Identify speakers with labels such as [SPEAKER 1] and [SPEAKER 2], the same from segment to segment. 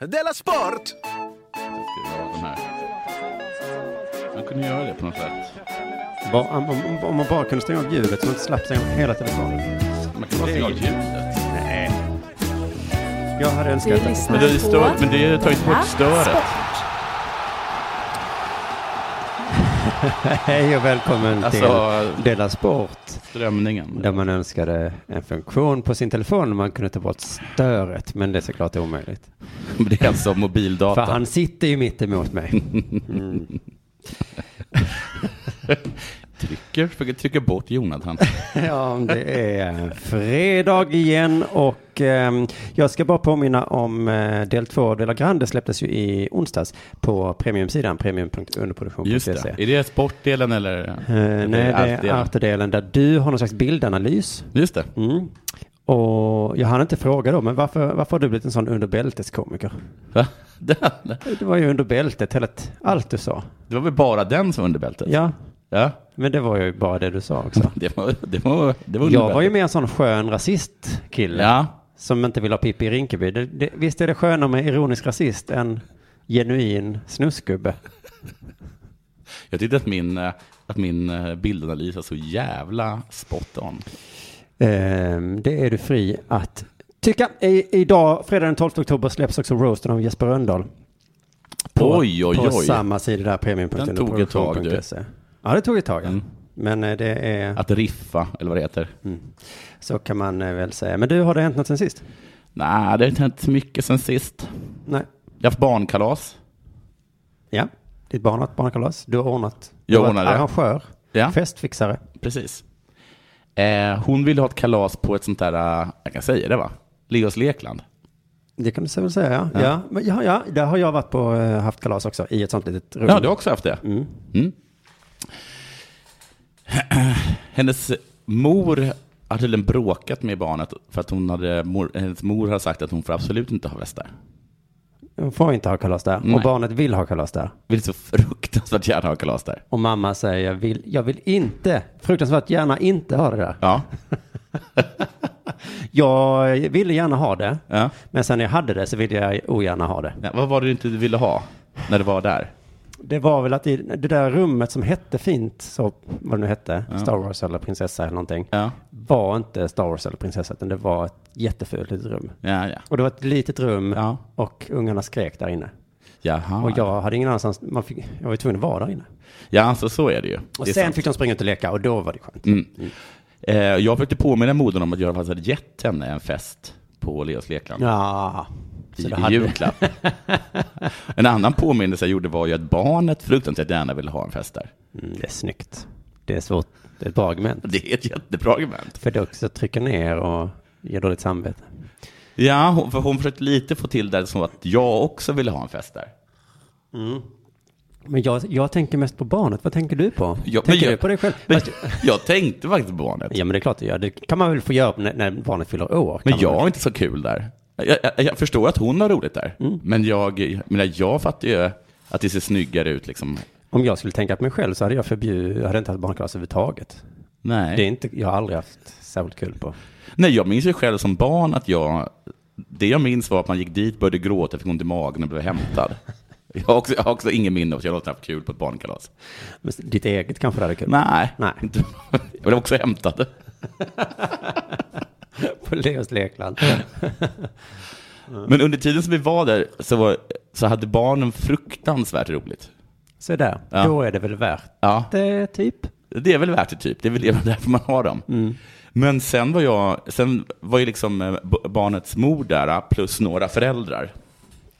[SPEAKER 1] Della Sport!
[SPEAKER 2] Ska vi ha den här? Man kunde göra det på något sätt.
[SPEAKER 3] Ba- Om, om, om man bara kunde stänga av ljudet så man inte slapp stänga av hela telefonen.
[SPEAKER 2] Man kan bara stänga av ljudet.
[SPEAKER 3] Nej. Jag hade
[SPEAKER 4] Du
[SPEAKER 3] önskat att...
[SPEAKER 4] lyssnar
[SPEAKER 2] Men det,
[SPEAKER 4] på...
[SPEAKER 2] stör, men det tar ju inte
[SPEAKER 4] Della
[SPEAKER 2] bort störet.
[SPEAKER 4] Sport.
[SPEAKER 3] Hej och välkommen
[SPEAKER 2] Alltså,
[SPEAKER 3] till Della Sport.
[SPEAKER 2] strömningen.
[SPEAKER 3] Där man önskade en funktion på sin telefon där man kunde ta bort störet. Men det är såklart omöjligt.
[SPEAKER 2] Men Det är alltså mobildata.
[SPEAKER 3] För han sitter ju mitt emot mig. Mm.
[SPEAKER 2] trycker, försöker trycka bort Jonathan.
[SPEAKER 3] Ja, det är fredag igen och ehm, jag ska bara påminna om eh, del två av Dela Grande släpptes ju i onsdags på premiumsidan,
[SPEAKER 2] Just
[SPEAKER 3] premium.underproduktion.se.
[SPEAKER 2] det. Är det sportdelen eller?
[SPEAKER 3] Eh, nej, det är
[SPEAKER 2] artdelen?
[SPEAKER 3] artdelen där du har någon slags bildanalys.
[SPEAKER 2] Just det.
[SPEAKER 3] Mm. Och jag hann inte fråga då, men varför, varför har du blivit en sån underbälteskomiker?
[SPEAKER 2] Va? Det-
[SPEAKER 3] Det var ju under bältet, hela, t- allt du sa.
[SPEAKER 2] Det var väl bara den som var under bältet?
[SPEAKER 3] Ja,
[SPEAKER 2] Ja.
[SPEAKER 3] men det var ju bara det du sa också.
[SPEAKER 2] Det var, det var, det var under
[SPEAKER 3] Jag var ju
[SPEAKER 2] bältet.
[SPEAKER 3] mer en sån skön rasistkille
[SPEAKER 2] Ja.
[SPEAKER 3] som inte vill ha Pippi i Rinkeby. Det, det, visst är det skönare med ironisk rasist än genuin snusgubbe?
[SPEAKER 2] Jag tyckte att min, eh, att min eh, bildanalys var så jävla spot on.
[SPEAKER 3] Ehm, det är du fri att tycka. I, idag, fredag den 12 oktober, släpps också roasten av Jesper Rönndahl. På,
[SPEAKER 2] Oj, oj,
[SPEAKER 3] På
[SPEAKER 2] oj.
[SPEAKER 3] samma sida där, premium.se.
[SPEAKER 2] Den tog ett tag, du.
[SPEAKER 3] Ja, det tog ett tag. ja.
[SPEAKER 2] Mm.
[SPEAKER 3] Men eh, det är,
[SPEAKER 2] Att riffa, eller vad det heter.
[SPEAKER 3] så kan man eh, väl säga. Men du, har det hänt något sen sist?
[SPEAKER 2] Nej, det har inte hänt så mycket sen sist.
[SPEAKER 3] Nej.
[SPEAKER 2] Jag har haft barnkalas.
[SPEAKER 3] Ja, ditt barn har ett barnkalas. Du har ordnat.
[SPEAKER 2] Jag
[SPEAKER 3] Du har
[SPEAKER 2] ordnar
[SPEAKER 3] varit
[SPEAKER 2] det.
[SPEAKER 3] Arrangör,
[SPEAKER 2] Ja.
[SPEAKER 3] festfixare.
[SPEAKER 2] Precis. Eh, hon ville ha ett kalas på ett sånt där, eh, jag kan säga det va? Leos Lekland.
[SPEAKER 3] Det kan du väl säga, ja. Ja.
[SPEAKER 2] Ja.
[SPEAKER 3] men ja, ja, där har jag varit på, eh, haft kalas också i ett sånt litet rum.
[SPEAKER 2] Ja, du har också haft det?
[SPEAKER 3] Mm.
[SPEAKER 2] Mm. Hennes mor har tydligen bråkat med barnet för att hon hade, mor, hennes mor har sagt att hon får absolut inte ha västar.
[SPEAKER 3] Hon får inte ha kalas där. Och
[SPEAKER 2] Nej.
[SPEAKER 3] barnet vill ha kalas där.
[SPEAKER 2] Vill så fruktansvärt gärna ha kalas där.
[SPEAKER 3] Och mamma säger, jag vill, jag vill inte, fruktansvärt gärna inte ha det där.
[SPEAKER 2] Ja,
[SPEAKER 3] Jag ville gärna ha det,
[SPEAKER 2] ja.
[SPEAKER 3] men sen när jag hade det så ville jag ogärna ha det.
[SPEAKER 2] ja. Vad var det du inte ville ha när du var där?
[SPEAKER 3] Det var väl att i det där rummet som hette fint, så, vad det nu hette, Star Wars eller prinsessa eller någonting,
[SPEAKER 2] Ja,
[SPEAKER 3] var inte Star Wars eller prinsessa, utan det var ett jättefult litet rum.
[SPEAKER 2] ja, ja.
[SPEAKER 3] Och det var ett litet rum
[SPEAKER 2] ja.
[SPEAKER 3] och ungarna skrek där inne.
[SPEAKER 2] Jaha.
[SPEAKER 3] Och jag hade ingen annanstans, man fick, jag var ju tvungen att vara där inne.
[SPEAKER 2] Ja, alltså så är det ju.
[SPEAKER 3] Och
[SPEAKER 2] Det är
[SPEAKER 3] sen
[SPEAKER 2] sant.
[SPEAKER 3] fick de springa ut och leka och då var det skönt.
[SPEAKER 2] Mm. Eh, jag försökte påminna modern om att jag faktiskt hade gett henne en fest på Leos Lekland.
[SPEAKER 3] Ja,
[SPEAKER 2] I,
[SPEAKER 3] så det
[SPEAKER 2] i
[SPEAKER 3] hade
[SPEAKER 2] julklapp. en annan påminnelse jag gjorde var ju att barnet fruktansvärt gärna ville ha en fest där.
[SPEAKER 3] Mm, det är snyggt. Det är svårt, det är ett bra argument.
[SPEAKER 2] Det är ett jättebra argument.
[SPEAKER 3] För det också trycker ner och ger dåligt samvete.
[SPEAKER 2] Ja, hon, för hon försökte lite få till det som att jag också ville ha en fest där.
[SPEAKER 3] Men jag, jag tänker mest på barnet, vad tänker du på?
[SPEAKER 2] Jag,
[SPEAKER 3] tänker
[SPEAKER 2] jag,
[SPEAKER 3] du på dig själv?
[SPEAKER 2] Men,
[SPEAKER 3] Fast-
[SPEAKER 2] jag tänkte faktiskt på barnet.
[SPEAKER 3] Ja men det är klart du gör, det kan man väl få göra när, när barnet fyller år? kan
[SPEAKER 2] Men
[SPEAKER 3] man
[SPEAKER 2] jag
[SPEAKER 3] väl.
[SPEAKER 2] har inte så kul där. Jag, jag, jag förstår att hon har roligt där.
[SPEAKER 3] Mm.
[SPEAKER 2] Men jag, jag menar, jag fattar ju att det ser snyggare ut liksom.
[SPEAKER 3] Om jag skulle tänka på mig själv så hade jag förbjudit, jag hade inte haft barnkalas överhuvudtaget.
[SPEAKER 2] Nej.
[SPEAKER 3] Det är inte, jag har aldrig haft särskilt kul på.
[SPEAKER 2] Nej, jag minns ju själv som barn att jag... Det jag minns var att man gick dit, började gråta, fick ont i magen och blev hämtad. Jag har också, jag har också ingen minne av att jag någonsin haft kul på ett barnkalas.
[SPEAKER 3] Men ditt eget kanske det hade kul.
[SPEAKER 2] Nej,
[SPEAKER 3] Nej.
[SPEAKER 2] Inte, jag blev också hämtad.
[SPEAKER 3] på Leos lekland.
[SPEAKER 2] Men under tiden som vi var där så, var, så hade barnen fruktansvärt roligt.
[SPEAKER 3] Så där,
[SPEAKER 2] Ja.
[SPEAKER 3] då är det väl värt
[SPEAKER 2] Ja,
[SPEAKER 3] det, typ.
[SPEAKER 2] det är väl värt det typ. Det är väl därför man har dem. Men sen var jag, sen var ju liksom eh, b- barnets mor där, eh, plus några föräldrar.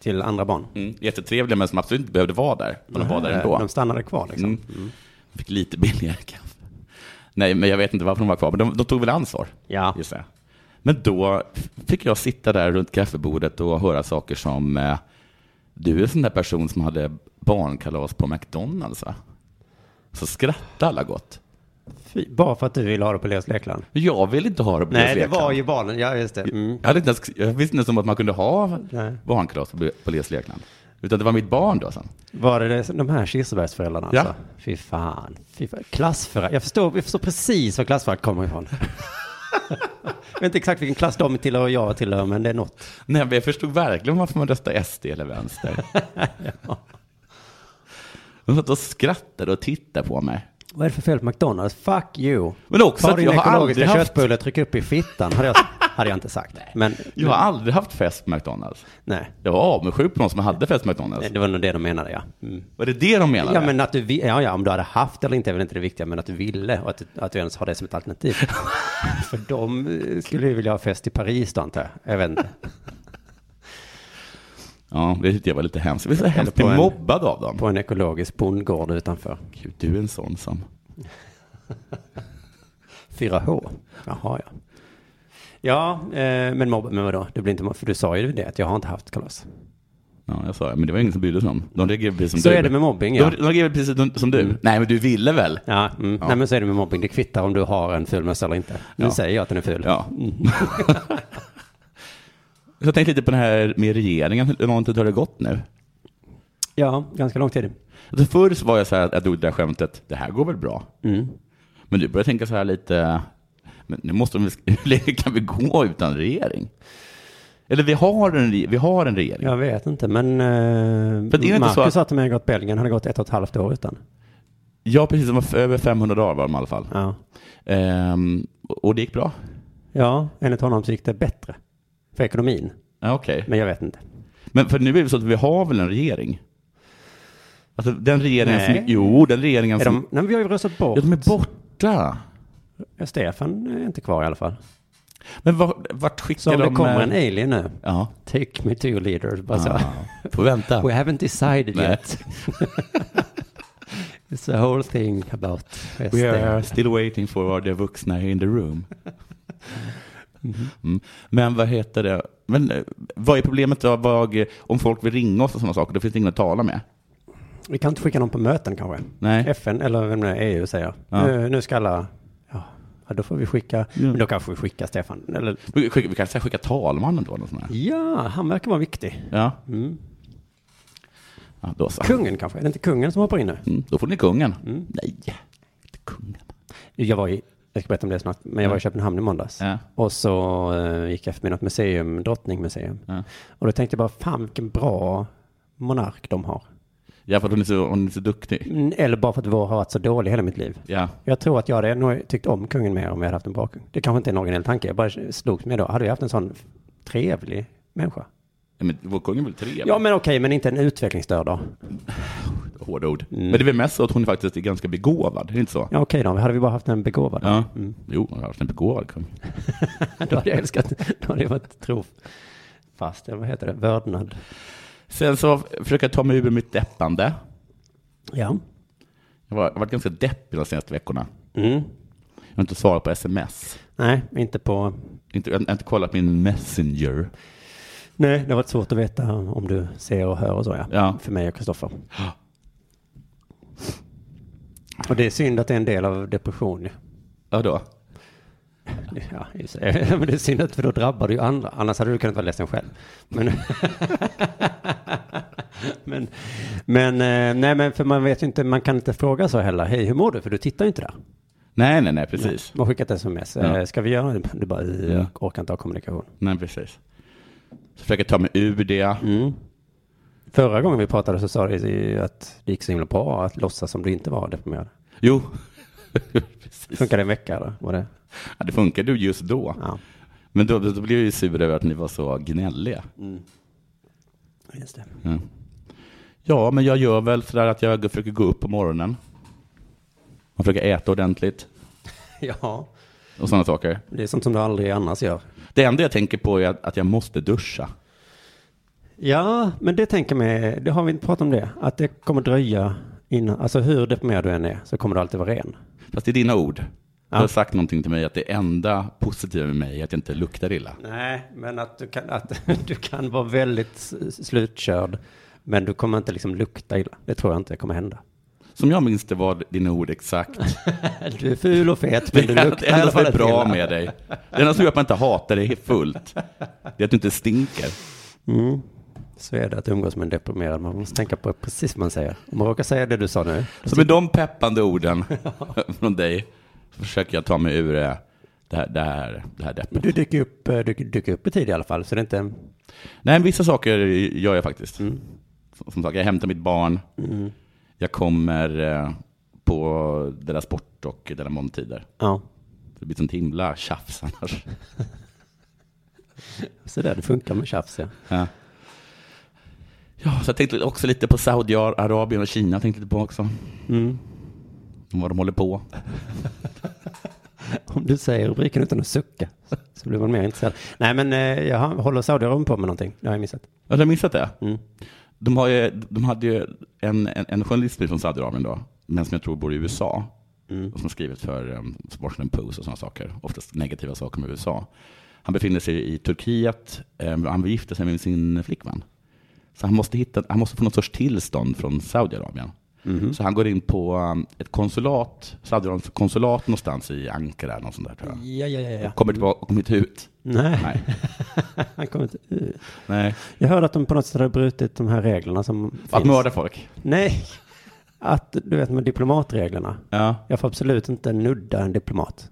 [SPEAKER 3] Till andra barn. Eh,
[SPEAKER 2] Mm. Jättetrevliga, men som absolut inte behövde vara där. Men de var där ändå.
[SPEAKER 3] De stannade kvar liksom.
[SPEAKER 2] Mm. Fick lite billigare kaffe. Nej, men jag vet inte varför de var kvar, men de, de tog väl ansvar.
[SPEAKER 3] Ja.
[SPEAKER 2] Just det. Men då fick jag sitta där runt kaffebordet och höra saker som eh, du är en sån där person som hade barnkalas på McDonalds va? Så skrattade alla gott.
[SPEAKER 3] Fy, bara för att du ville ha det på Leos lekland.
[SPEAKER 2] Jag vill inte ha det på
[SPEAKER 3] Nej,
[SPEAKER 2] Leos
[SPEAKER 3] det
[SPEAKER 2] Lekland.
[SPEAKER 3] var ju barnen. Ja, just det. Mm.
[SPEAKER 2] jag, hade inte ens, jag visste inte ens om att man kunde ha
[SPEAKER 3] Nej.
[SPEAKER 2] barnkalas på, på Leos Lekland. Utan det var mitt barn då sen.
[SPEAKER 3] Var det det- de här Kirsebergsföräldrarna
[SPEAKER 2] Ja.
[SPEAKER 3] alltså? Fy fan. Fy fan. Klassförakt. Jag förstår, jag förstår precis var klassförakt kommer ifrån. Jag vet inte exakt vilken klass de tillhör och jag tillhör, men det är något.
[SPEAKER 2] Nej, men jag förstod verkligen varför man röstar SD eller vänster. De satt och skrattade och tittade på mig.
[SPEAKER 3] Vad är det för fel på McDonalds? Fuck you.
[SPEAKER 2] Men också
[SPEAKER 3] Ta
[SPEAKER 2] att
[SPEAKER 3] din
[SPEAKER 2] jag har
[SPEAKER 3] ekologiska
[SPEAKER 2] aldrig haft,
[SPEAKER 3] köttbulle, tryck upp i fittan, hade jag, hade jag inte sagt. Men
[SPEAKER 2] jag har aldrig haft fest på McDonalds.
[SPEAKER 3] nej,
[SPEAKER 2] Jag var avundsjuk på någon som hade fest på McDonalds.
[SPEAKER 3] det var nog det de menade, ja. Mm.
[SPEAKER 2] Var det det de menade?
[SPEAKER 3] Ja, men att du, vi- ja, ja, om du hade haft eller inte är väl inte det viktiga, men att du ville och att, du- att du ens har det som ett alternativ. För de eh, skulle ju vilja ha fest i Paris då, antar jag. Jag vet inte.
[SPEAKER 2] Ja, det tyckte jag var lite hemskt. Jag blev så hemskt
[SPEAKER 3] på en-
[SPEAKER 2] mobbad av dem.
[SPEAKER 3] På en ekologisk bondgård utanför
[SPEAKER 2] Gud, du är en sån som...
[SPEAKER 3] 4H. Jaha, ja. Ja, eh, men, mobb, men vadå? Det blir inte, mobb- för du sa ju det, att jag har inte haft kalas.
[SPEAKER 2] Ja, jag sa det, men det var ingen som brydde sig om. De reagerade precis som
[SPEAKER 3] Så
[SPEAKER 2] du.
[SPEAKER 3] är det med mobbing, ja.
[SPEAKER 2] De, de reagerade precis som- som du. Nej, men du ville väl?
[SPEAKER 3] Ja, mm. Nej, men så är det med mobbing. Det kvittar om du har en ful mössa eller inte. Nu
[SPEAKER 2] Ja.
[SPEAKER 3] säger jag att den är ful.
[SPEAKER 2] Ja. Så jag tänkte lite på det här med regeringen, hur lång tid har det gått nu?
[SPEAKER 3] ja ganska lång tid.
[SPEAKER 2] Alltså förr så var jag så här, jag drog det där skämtet, det här går väl bra?
[SPEAKER 3] Mm.
[SPEAKER 2] Men du börjar tänka så här lite, men nu måste de, hur länge kan vi gå utan regering? Eller vi har en, re- vi har en regering.
[SPEAKER 3] Jag vet inte, men eh,
[SPEAKER 2] För det är inte
[SPEAKER 3] Marcus
[SPEAKER 2] så att-
[SPEAKER 3] sa att de hade gått Belgien, hade gått ett och ett halvt år utan.
[SPEAKER 2] Ja, precis, de var f- över 500 dagar var de i alla fall.
[SPEAKER 3] Ja,
[SPEAKER 2] Ehm, och och det gick bra?
[SPEAKER 3] ja enligt honom så gick det bättre för ekonomin,
[SPEAKER 2] Ja, Okej.
[SPEAKER 3] men jag vet inte.
[SPEAKER 2] Men för nu är det så att vi har väl en regering? Alltså den regeringen
[SPEAKER 3] Nej.
[SPEAKER 2] som, jo, den regeringen
[SPEAKER 3] Är
[SPEAKER 2] som,
[SPEAKER 3] de, nej, men vi har ju röstat bort.
[SPEAKER 2] ja, de är borta.
[SPEAKER 3] Ja, Stefan är inte kvar i alla fall.
[SPEAKER 2] Men var, vart skickar
[SPEAKER 3] Så om
[SPEAKER 2] de?
[SPEAKER 3] det kommer
[SPEAKER 2] eh,
[SPEAKER 3] en alien nu,
[SPEAKER 2] Ja.
[SPEAKER 3] take me to your leader, bara så.
[SPEAKER 2] ja. Får vänta.
[SPEAKER 3] We haven't decided
[SPEAKER 2] Nej.
[SPEAKER 3] yet. It's the whole thing about
[SPEAKER 2] We
[SPEAKER 3] SD.
[SPEAKER 2] are still waiting for the vuxna in the room. Mm. Men vad heter det? Men eh, vad är problemet då? Vad, eh, om folk vill ringa oss och sådana saker, då finns det ingen att tala med.
[SPEAKER 3] Vi kan inte skicka någon på möten kanske.
[SPEAKER 2] Nej.
[SPEAKER 3] FN eller vem det är, EU säger.
[SPEAKER 2] Ja.
[SPEAKER 3] Nu, nu ska alla, ja, ja, då får vi skicka, men då kanske vi skickar Stefan. Eller,
[SPEAKER 2] Vi, skick- vi kan säga skicka talmannen då. Något sånt här.
[SPEAKER 3] ja, han verkar vara viktig.
[SPEAKER 2] Ja.
[SPEAKER 3] Mm.
[SPEAKER 2] ja, då så.
[SPEAKER 3] Kungen kanske, är det inte kungen som hoppar in nu?
[SPEAKER 2] Mm, då får ni kungen. Nej, inte kungen.
[SPEAKER 3] Jag var i, jag ska berätta om det snart, men jag var i Köpenhamn i måndags.
[SPEAKER 2] Ja.
[SPEAKER 3] Och så eh, gick jag förbi något museum, drottningmuseum.
[SPEAKER 2] Ja.
[SPEAKER 3] Och då tänkte jag bara, fan vilken bra monark de har.
[SPEAKER 2] Ja, för att hon är så, hon är så duktig.
[SPEAKER 3] Mm, Eller bara för att vår har varit så dålig hela mitt liv.
[SPEAKER 2] Ja.
[SPEAKER 3] Jag tror att jag hade nog tyckt om kungen mer om jag hade haft en bra kung. Det kanske inte är en originell tanke, jag bara slogs med då. Hade jag haft en sån trevlig människa?
[SPEAKER 2] Ja, Men vår kung är väl trevlig?
[SPEAKER 3] Ja, men okej, men inte en utvecklingsstörd då.
[SPEAKER 2] Hårda ord. Men det är väl mest så att hon faktiskt är ganska begåvad, är det inte så?
[SPEAKER 3] Ja, okej då. Hade vi bara haft en begåvad?
[SPEAKER 2] Ja. Mm. Jo, han har haft en liksom. begåvad kung.
[SPEAKER 3] Då hade jag älskat. Då hade jag varit trofast. eller Vad heter det? Vördnad.
[SPEAKER 2] Sen så försöker jag ta mig ur mitt deppande.
[SPEAKER 3] Ja.
[SPEAKER 2] Jag var- jag har varit ganska deppig de senaste veckorna.
[SPEAKER 3] Mm.
[SPEAKER 2] Jag har inte svarat på sms.
[SPEAKER 3] Nej, inte på...
[SPEAKER 2] Inte, jag har inte kollat min messenger.
[SPEAKER 3] Nej, det har varit svårt att veta om du ser och hör och så ja.
[SPEAKER 2] Ja.
[SPEAKER 3] För mig och Kristoffer. Och det är synd att det är en del av depression. ju.
[SPEAKER 2] Ja då?
[SPEAKER 3] Ja, just det. Men det är synd att för då drabbar du ju andra. Annars hade du kunnat vara ledsen själv. Men, men, men, eh, nej, men för man vet ju inte, man kan inte fråga så heller. Hej, hur mår du? För du tittar ju inte där.
[SPEAKER 2] Nej, nej, nej, precis.
[SPEAKER 3] Man skickar ett sms.
[SPEAKER 2] Ja.
[SPEAKER 3] Eh, Ska vi göra det? Du bara, "Eh, jag orkar inte ha kommunikation.
[SPEAKER 2] Nej, precis. Så försöker jag ta mig ur det.
[SPEAKER 3] Mm. Förra gången vi pratade så sa du ju att det gick så himla bra att låtsas som du inte var deprimerad.
[SPEAKER 2] Jo, precis.
[SPEAKER 3] Funkade en vecka eller? Var det?
[SPEAKER 2] Ja, det funkade ju just då.
[SPEAKER 3] Ja,
[SPEAKER 2] Men då, då blev jag ju sur över att ni var så gnälliga.
[SPEAKER 3] just det.
[SPEAKER 2] Ja. ja, men jag gör väl sådär att jag försöker gå upp på morgonen. Man försöker äta ordentligt
[SPEAKER 3] Ja,
[SPEAKER 2] och sådana saker.
[SPEAKER 3] det är sånt som du aldrig annars gör.
[SPEAKER 2] Det enda jag tänker på är att, att jag måste duscha.
[SPEAKER 3] Ja, men det tänker mig, det har vi inte pratat om det, att det kommer dröja innan, alltså hur deprimerad du än är så kommer du alltid vara ren.
[SPEAKER 2] Fast det är dina ord.
[SPEAKER 3] Ja.
[SPEAKER 2] Du har sagt någonting till mig att det enda positiva med mig är att jag inte luktar illa.
[SPEAKER 3] Nej, men att du kan, att du kan vara väldigt s- slutkörd, men du kommer inte liksom lukta illa. Det tror jag inte kommer hända.
[SPEAKER 2] Som jag minns det var dina ord exakt.
[SPEAKER 3] Du är ful och fet, men
[SPEAKER 2] Det
[SPEAKER 3] du
[SPEAKER 2] är
[SPEAKER 3] luktar i alla
[SPEAKER 2] enda som
[SPEAKER 3] fall
[SPEAKER 2] är bra
[SPEAKER 3] illa.
[SPEAKER 2] med dig. Det enda som gör att man inte hatar dig fullt, det är att du inte stinker.
[SPEAKER 3] Mm. Så är det att umgås med en deprimerad. Man måste tänka på precis vad man säger. Om man råkar säga det du sa nu.
[SPEAKER 2] Så med de peppande orden från dig försöker jag ta mig ur det det här, det här, det här deppet.
[SPEAKER 3] Du dyker upp, eh, dyker, dyker upp i tid i alla fall, så det är inte...
[SPEAKER 2] Nej, men vissa saker gör jag faktiskt.
[SPEAKER 3] Mm.
[SPEAKER 2] Som, som sagt, jag hämtar mitt barn. Jag kommer eh, på deras sport och deras måltider.
[SPEAKER 3] Ja,
[SPEAKER 2] Det blir sånt himla tjafs annars.
[SPEAKER 3] så där det funkar med tjafs, ja.
[SPEAKER 2] Ja. ja, så jag tänkte också lite på Saudiarabien och Kina. Tänkte lite på också.
[SPEAKER 3] Mm.
[SPEAKER 2] Vad de håller på.
[SPEAKER 3] Om du säger rubriken utan att sucka så blir man mer intresserad. Nej, men eh, jag håller Saudiarabien på med någonting. Det har jag missat.
[SPEAKER 2] Har du missat det?
[SPEAKER 3] Mm.
[SPEAKER 2] De, har ju, de hade ju en, en, en journalist från Saudiarabien då, men som jag tror bor i USA, och som har skrivit för um, Washington Post och sådana saker, oftast negativa saker med USA. Han befinner sig i Turkiet, eh, han vill gifta sig med sin flickvän. Så han måste, hitta, han måste få någon sorts tillstånd från Saudiarabien. Så han går in på um, ett konsulat, Saudiarabiens konsulat någonstans i Ankara, något sånt där tror jag.
[SPEAKER 3] Ja, ja, ja. ja.
[SPEAKER 2] Kommer tillbaka och kommer inte ut.
[SPEAKER 3] Nej,
[SPEAKER 2] Nej.
[SPEAKER 3] han kommer inte ut.
[SPEAKER 2] Nej.
[SPEAKER 3] Jag hörde att de på något sätt hade brutit de här reglerna som
[SPEAKER 2] Att
[SPEAKER 3] finns.
[SPEAKER 2] mörda folk.
[SPEAKER 3] Nej, att du vet med diplomatreglerna.
[SPEAKER 2] Ja.
[SPEAKER 3] Jag får absolut inte nudda en diplomat.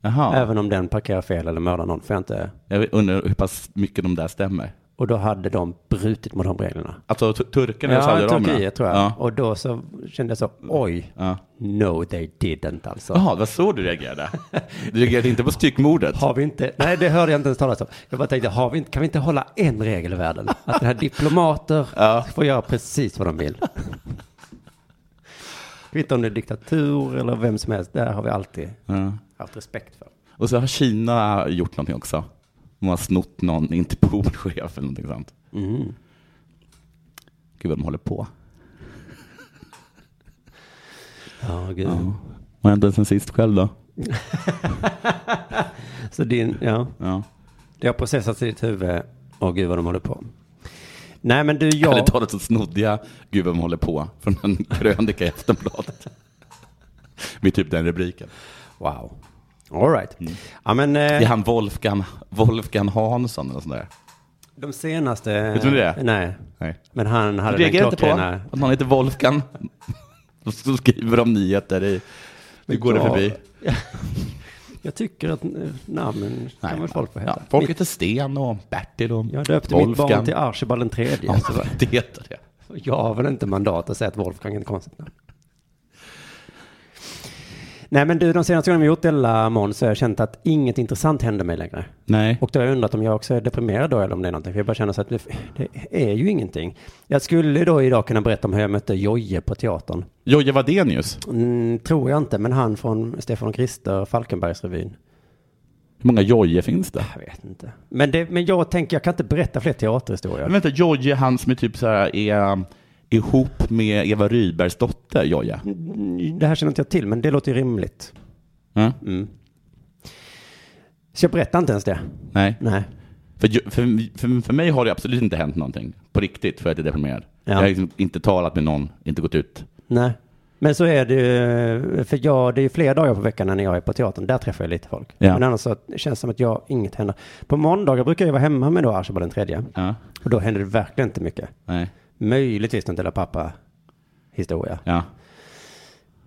[SPEAKER 2] Jaha.
[SPEAKER 3] Även om den parkerar fel eller mördar någon. Får jag inte.
[SPEAKER 2] Jag undrar hur pass mycket de där stämmer.
[SPEAKER 3] Och då hade de brutit mot de reglerna.
[SPEAKER 2] Alltså tu- turkarna eller saudiaraberna?
[SPEAKER 3] Turkiet tror jag.
[SPEAKER 2] Ja.
[SPEAKER 3] Och då så kände jag så, oj,
[SPEAKER 2] Ja.
[SPEAKER 3] no they didn't alltså.
[SPEAKER 2] Jaha, det var så du reagerade? Du reagerade inte på styckmordet?
[SPEAKER 3] Har vi inte, nej det hörde jag inte ens talas om. Jag bara tänkte, har vi inte, kan vi inte hålla en regel i världen? Att den här diplomater får göra precis vad de vill. Kvittar om det är diktatur eller vem som helst, där har vi alltid
[SPEAKER 2] Ja.
[SPEAKER 3] haft respekt för.
[SPEAKER 2] Och så har Kina gjort någonting också. De har snott någon Interpolchef eller någonting sånt.
[SPEAKER 3] Mm.
[SPEAKER 2] Gud vad de håller på.
[SPEAKER 3] Ja, gud.
[SPEAKER 2] Vad hände sen sist själv då?
[SPEAKER 3] Så din, ja,
[SPEAKER 2] Ja.
[SPEAKER 3] det har processats i ditt huvud. Åh gud vad de håller på. Nej men du,
[SPEAKER 2] Eller
[SPEAKER 3] jag...
[SPEAKER 2] talat så snodde jag Gud vad de håller på från en krönika i Aftonbladet. Med typ den rubriken.
[SPEAKER 3] Wow. All right. Ja men, eh,
[SPEAKER 2] Mm. Det är han Wolfgang, Wolfgang Hansson eller sånt där.
[SPEAKER 3] de senaste...
[SPEAKER 2] Vet du vem det är?
[SPEAKER 3] Nej.
[SPEAKER 2] Nej.
[SPEAKER 3] Men han hade
[SPEAKER 2] Du reagerar
[SPEAKER 3] den
[SPEAKER 2] inte på
[SPEAKER 3] klockrena...
[SPEAKER 2] att någon heter Wolfgang? Så skriver de nyheter i... Nu går det
[SPEAKER 3] ja.
[SPEAKER 2] förbi.
[SPEAKER 3] Jag tycker att eh, namnen kan väl folk få heta.
[SPEAKER 2] ja, folk
[SPEAKER 3] Mitt-
[SPEAKER 2] heter Sten och Bertil och
[SPEAKER 3] jag döpte mitt barn till Archibald den tredje.
[SPEAKER 2] Ja,
[SPEAKER 3] så va-
[SPEAKER 2] det heter det.
[SPEAKER 3] Jag har väl inte mandat att säga att Wolfgang är ett konstigt namn. Nej men du, de senaste gångerna vi gjort Ella Måns så har jag känt att inget intressant händer mig längre.
[SPEAKER 2] Nej.
[SPEAKER 3] Och då har jag undrat om jag också är deprimerad då eller om det är någonting. För jag bara känner så att det, det är ju ingenting. Jag skulle då idag kunna berätta om hur jag mötte Joje på teatern.
[SPEAKER 2] Jojje Wadenius,
[SPEAKER 3] Mm, tror jag inte, men han från Stefan och Krister, Falkenbergsrevyn.
[SPEAKER 2] hur många Jojje finns det?
[SPEAKER 3] Jag vet inte. Men, det, men jag tänker, jag kan inte berätta fler teaterhistorier.
[SPEAKER 2] Men vänta, Jojje han som är typ så här är ihop med Eva Rydbergs dotter, Jojje.
[SPEAKER 3] Mm, Det här känner inte jag till, men det låter ju rimligt.
[SPEAKER 2] Ja?
[SPEAKER 3] Så jag berättar inte ens det.
[SPEAKER 2] Nej.
[SPEAKER 3] Nej.
[SPEAKER 2] För, ju- för, för, för mig har det absolut inte hänt någonting på riktigt för att jag är deprimerad.
[SPEAKER 3] Ja.
[SPEAKER 2] Jag har liksom inte talat med någon, inte gått ut.
[SPEAKER 3] Nej. Men så är det ju, för jag, det är ju flera dagar på veckan när jag är på teatern. Där träffar jag lite folk.
[SPEAKER 2] Ja.
[SPEAKER 3] Men annars så känns det som att jag, inget händer. På måndagar brukar jag vara hemma med då Archibald den tredje.
[SPEAKER 2] Ja.
[SPEAKER 3] Och då händer det verkligen inte mycket.
[SPEAKER 2] Nej.
[SPEAKER 3] Möjligtvis någon Della Pappa-historia.
[SPEAKER 2] Ja.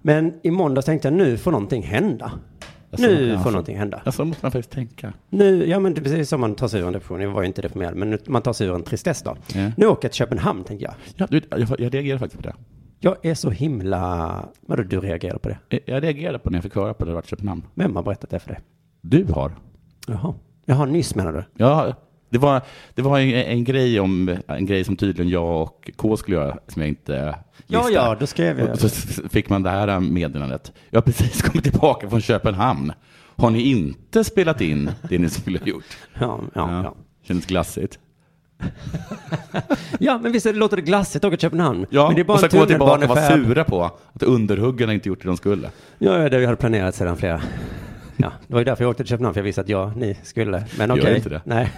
[SPEAKER 3] Men i måndags tänkte jag nu får någonting hända.
[SPEAKER 2] Alltså,
[SPEAKER 3] nu
[SPEAKER 2] ja,
[SPEAKER 3] får
[SPEAKER 2] så-
[SPEAKER 3] någonting hända.
[SPEAKER 2] Ja, så Alltså, måste man faktiskt tänka.
[SPEAKER 3] Nu, ja men det är precis som man tar sig ur en depression. Jag var ju inte deprimerad, men nu- man tar sig ur en tristess då.
[SPEAKER 2] Ja.
[SPEAKER 3] Nu åker jag till Köpenhamn, tänker jag.
[SPEAKER 2] Ja, du, vet, jag, jag reagerar faktiskt på det.
[SPEAKER 3] Jag är så himla... Vadå, du reagerar på det?
[SPEAKER 2] Jag- Eh, Jag reagerade på när jag fick höra på det, det var i Köpenhamn.
[SPEAKER 3] Vem har berättat det för dig?
[SPEAKER 2] Du har.
[SPEAKER 3] Jaha. Jaha, nyss menar du?
[SPEAKER 2] Ja, det var, det var en, en, grej om, en grej som tydligen jag och K skulle göra som jag inte
[SPEAKER 3] Ja,
[SPEAKER 2] visste.
[SPEAKER 3] ja, då skrev jag.
[SPEAKER 2] Och så fick man det här meddelandet. Jag har precis kommit tillbaka från Köpenhamn. Har ni inte spelat in det ni skulle ha gjort?
[SPEAKER 3] Ja, ja, ja.
[SPEAKER 2] Känns glassigt.
[SPEAKER 3] ja men visst är det- låter det glassigt att åka till Köpenhamn?
[SPEAKER 2] Ja,
[SPEAKER 3] men det är bara
[SPEAKER 2] och
[SPEAKER 3] en
[SPEAKER 2] så gå tillbaka och vara
[SPEAKER 3] tunnelbanefärd.
[SPEAKER 2] sura på att underhuggarna inte gjort det de skulle.
[SPEAKER 3] Ja, ja, det vi hade planerat sedan flera... Ja, det var ju därför jag åkte till Köpenhamn, för jag visste att jag, ni skulle. Men
[SPEAKER 2] Gör
[SPEAKER 3] okej.
[SPEAKER 2] inte det.
[SPEAKER 3] Nej.